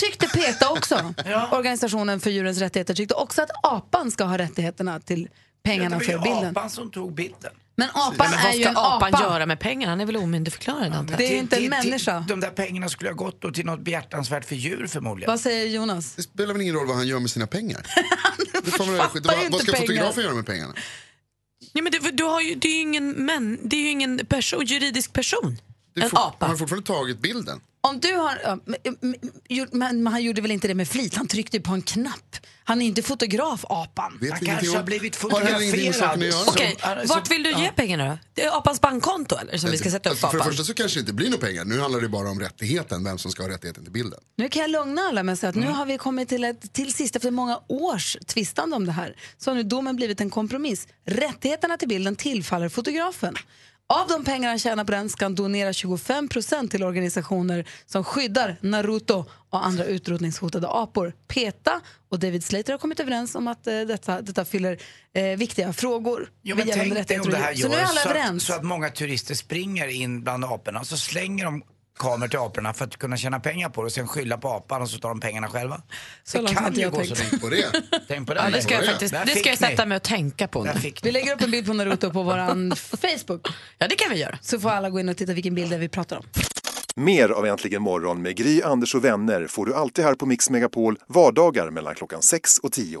[SPEAKER 1] Tyckte PETA också. Organisationen för djurens rättigheter tyckte också att apan ska ha rättigheterna till pengarna för
[SPEAKER 2] Det var ju
[SPEAKER 1] bilden.
[SPEAKER 2] apan som tog bilden.
[SPEAKER 1] Men apan
[SPEAKER 3] men
[SPEAKER 1] är
[SPEAKER 3] vad
[SPEAKER 1] ju
[SPEAKER 3] ska
[SPEAKER 1] en
[SPEAKER 3] apan
[SPEAKER 1] apa.
[SPEAKER 3] göra med pengarna? Han är väl omyndigförklarad antar jag.
[SPEAKER 1] Det är ju inte en människa.
[SPEAKER 2] De där pengarna skulle ha gått då till något behjärtansvärt för djur förmodligen.
[SPEAKER 1] Vad säger Jonas?
[SPEAKER 9] Det spelar väl ingen roll vad han gör med sina pengar? det får man
[SPEAKER 1] fattar
[SPEAKER 9] skit. Vad,
[SPEAKER 1] ju
[SPEAKER 9] vad
[SPEAKER 1] inte
[SPEAKER 9] ska
[SPEAKER 1] pengar.
[SPEAKER 9] fotografen göra med pengarna?
[SPEAKER 3] Nej, men det, du har ju, det är ju ingen, män, det är ju ingen person, juridisk person.
[SPEAKER 9] Du
[SPEAKER 3] En
[SPEAKER 9] får,
[SPEAKER 3] apa.
[SPEAKER 9] Han har fortfarande tagit bilden.
[SPEAKER 1] Om du har, ja, men- men- men, men han gjorde väl inte det med flit? Han tryckte ju på en knapp. Han är inte fotograf, apan.
[SPEAKER 9] Vet
[SPEAKER 2] Han
[SPEAKER 9] ingenting
[SPEAKER 2] kanske
[SPEAKER 9] om-
[SPEAKER 2] har blivit
[SPEAKER 9] Har heller ingenting med saken att
[SPEAKER 2] fotograferad.
[SPEAKER 9] göra.
[SPEAKER 3] Okej, vart
[SPEAKER 2] Alltså,
[SPEAKER 3] vill du ge pengarna då? Det är apans bankkonto eller som vi ska sätta upp
[SPEAKER 9] Alltså,
[SPEAKER 3] för
[SPEAKER 9] för det
[SPEAKER 3] apan?
[SPEAKER 9] första så kanske det inte blir några pengar. Nu handlar det bara om rättigheten, vem som ska ha rättigheten till bilden.
[SPEAKER 1] Nu kan jag lugna alla med att säga att
[SPEAKER 2] Mm.
[SPEAKER 1] nu har vi kommit till, ett, till sist efter många års tvistande om det här. Så har nu domen blivit en kompromiss. Rättigheterna till bilden tillfaller fotografen. Av de pengar han tjänar på den ska han donera 25 till organisationer som skyddar Naruto och andra utrotningshotade apor. PETA och David Slater har kommit överens om att eh, detta, detta fyller eh, viktiga frågor.
[SPEAKER 2] Jo, men
[SPEAKER 1] gällande
[SPEAKER 2] tänk dig om
[SPEAKER 1] rättigheter
[SPEAKER 2] det
[SPEAKER 1] och
[SPEAKER 2] här
[SPEAKER 1] djur. så nu är
[SPEAKER 2] görs
[SPEAKER 1] alla
[SPEAKER 2] så, att,
[SPEAKER 1] överens.
[SPEAKER 2] så att många turister springer in bland aporna och så slänger de kameror till aporna för att kunna tjäna pengar på det och sen skylla på apan och så tar de pengarna själva.
[SPEAKER 1] Så
[SPEAKER 2] det
[SPEAKER 1] långt har
[SPEAKER 2] kan
[SPEAKER 1] inte
[SPEAKER 2] ju
[SPEAKER 1] jag
[SPEAKER 2] gå så
[SPEAKER 1] tänkt.
[SPEAKER 2] långt.
[SPEAKER 9] På det.
[SPEAKER 2] Tänk på det.
[SPEAKER 3] Ja, det ska jag faktiskt
[SPEAKER 2] Där
[SPEAKER 3] det
[SPEAKER 2] fick
[SPEAKER 3] ska jag
[SPEAKER 2] ni.
[SPEAKER 3] sätta mig och tänka på.
[SPEAKER 2] Där fick ni.
[SPEAKER 1] Vi lägger upp en bild på Naruto på vår Facebook.
[SPEAKER 3] Ja, det kan vi göra.
[SPEAKER 1] Så får alla gå in och titta vilken bild det är vi pratar om.
[SPEAKER 23] Mer av Äntligen morgon med Gry, Anders och vänner får du alltid här på Mix Megapol vardagar mellan klockan 6 och 10.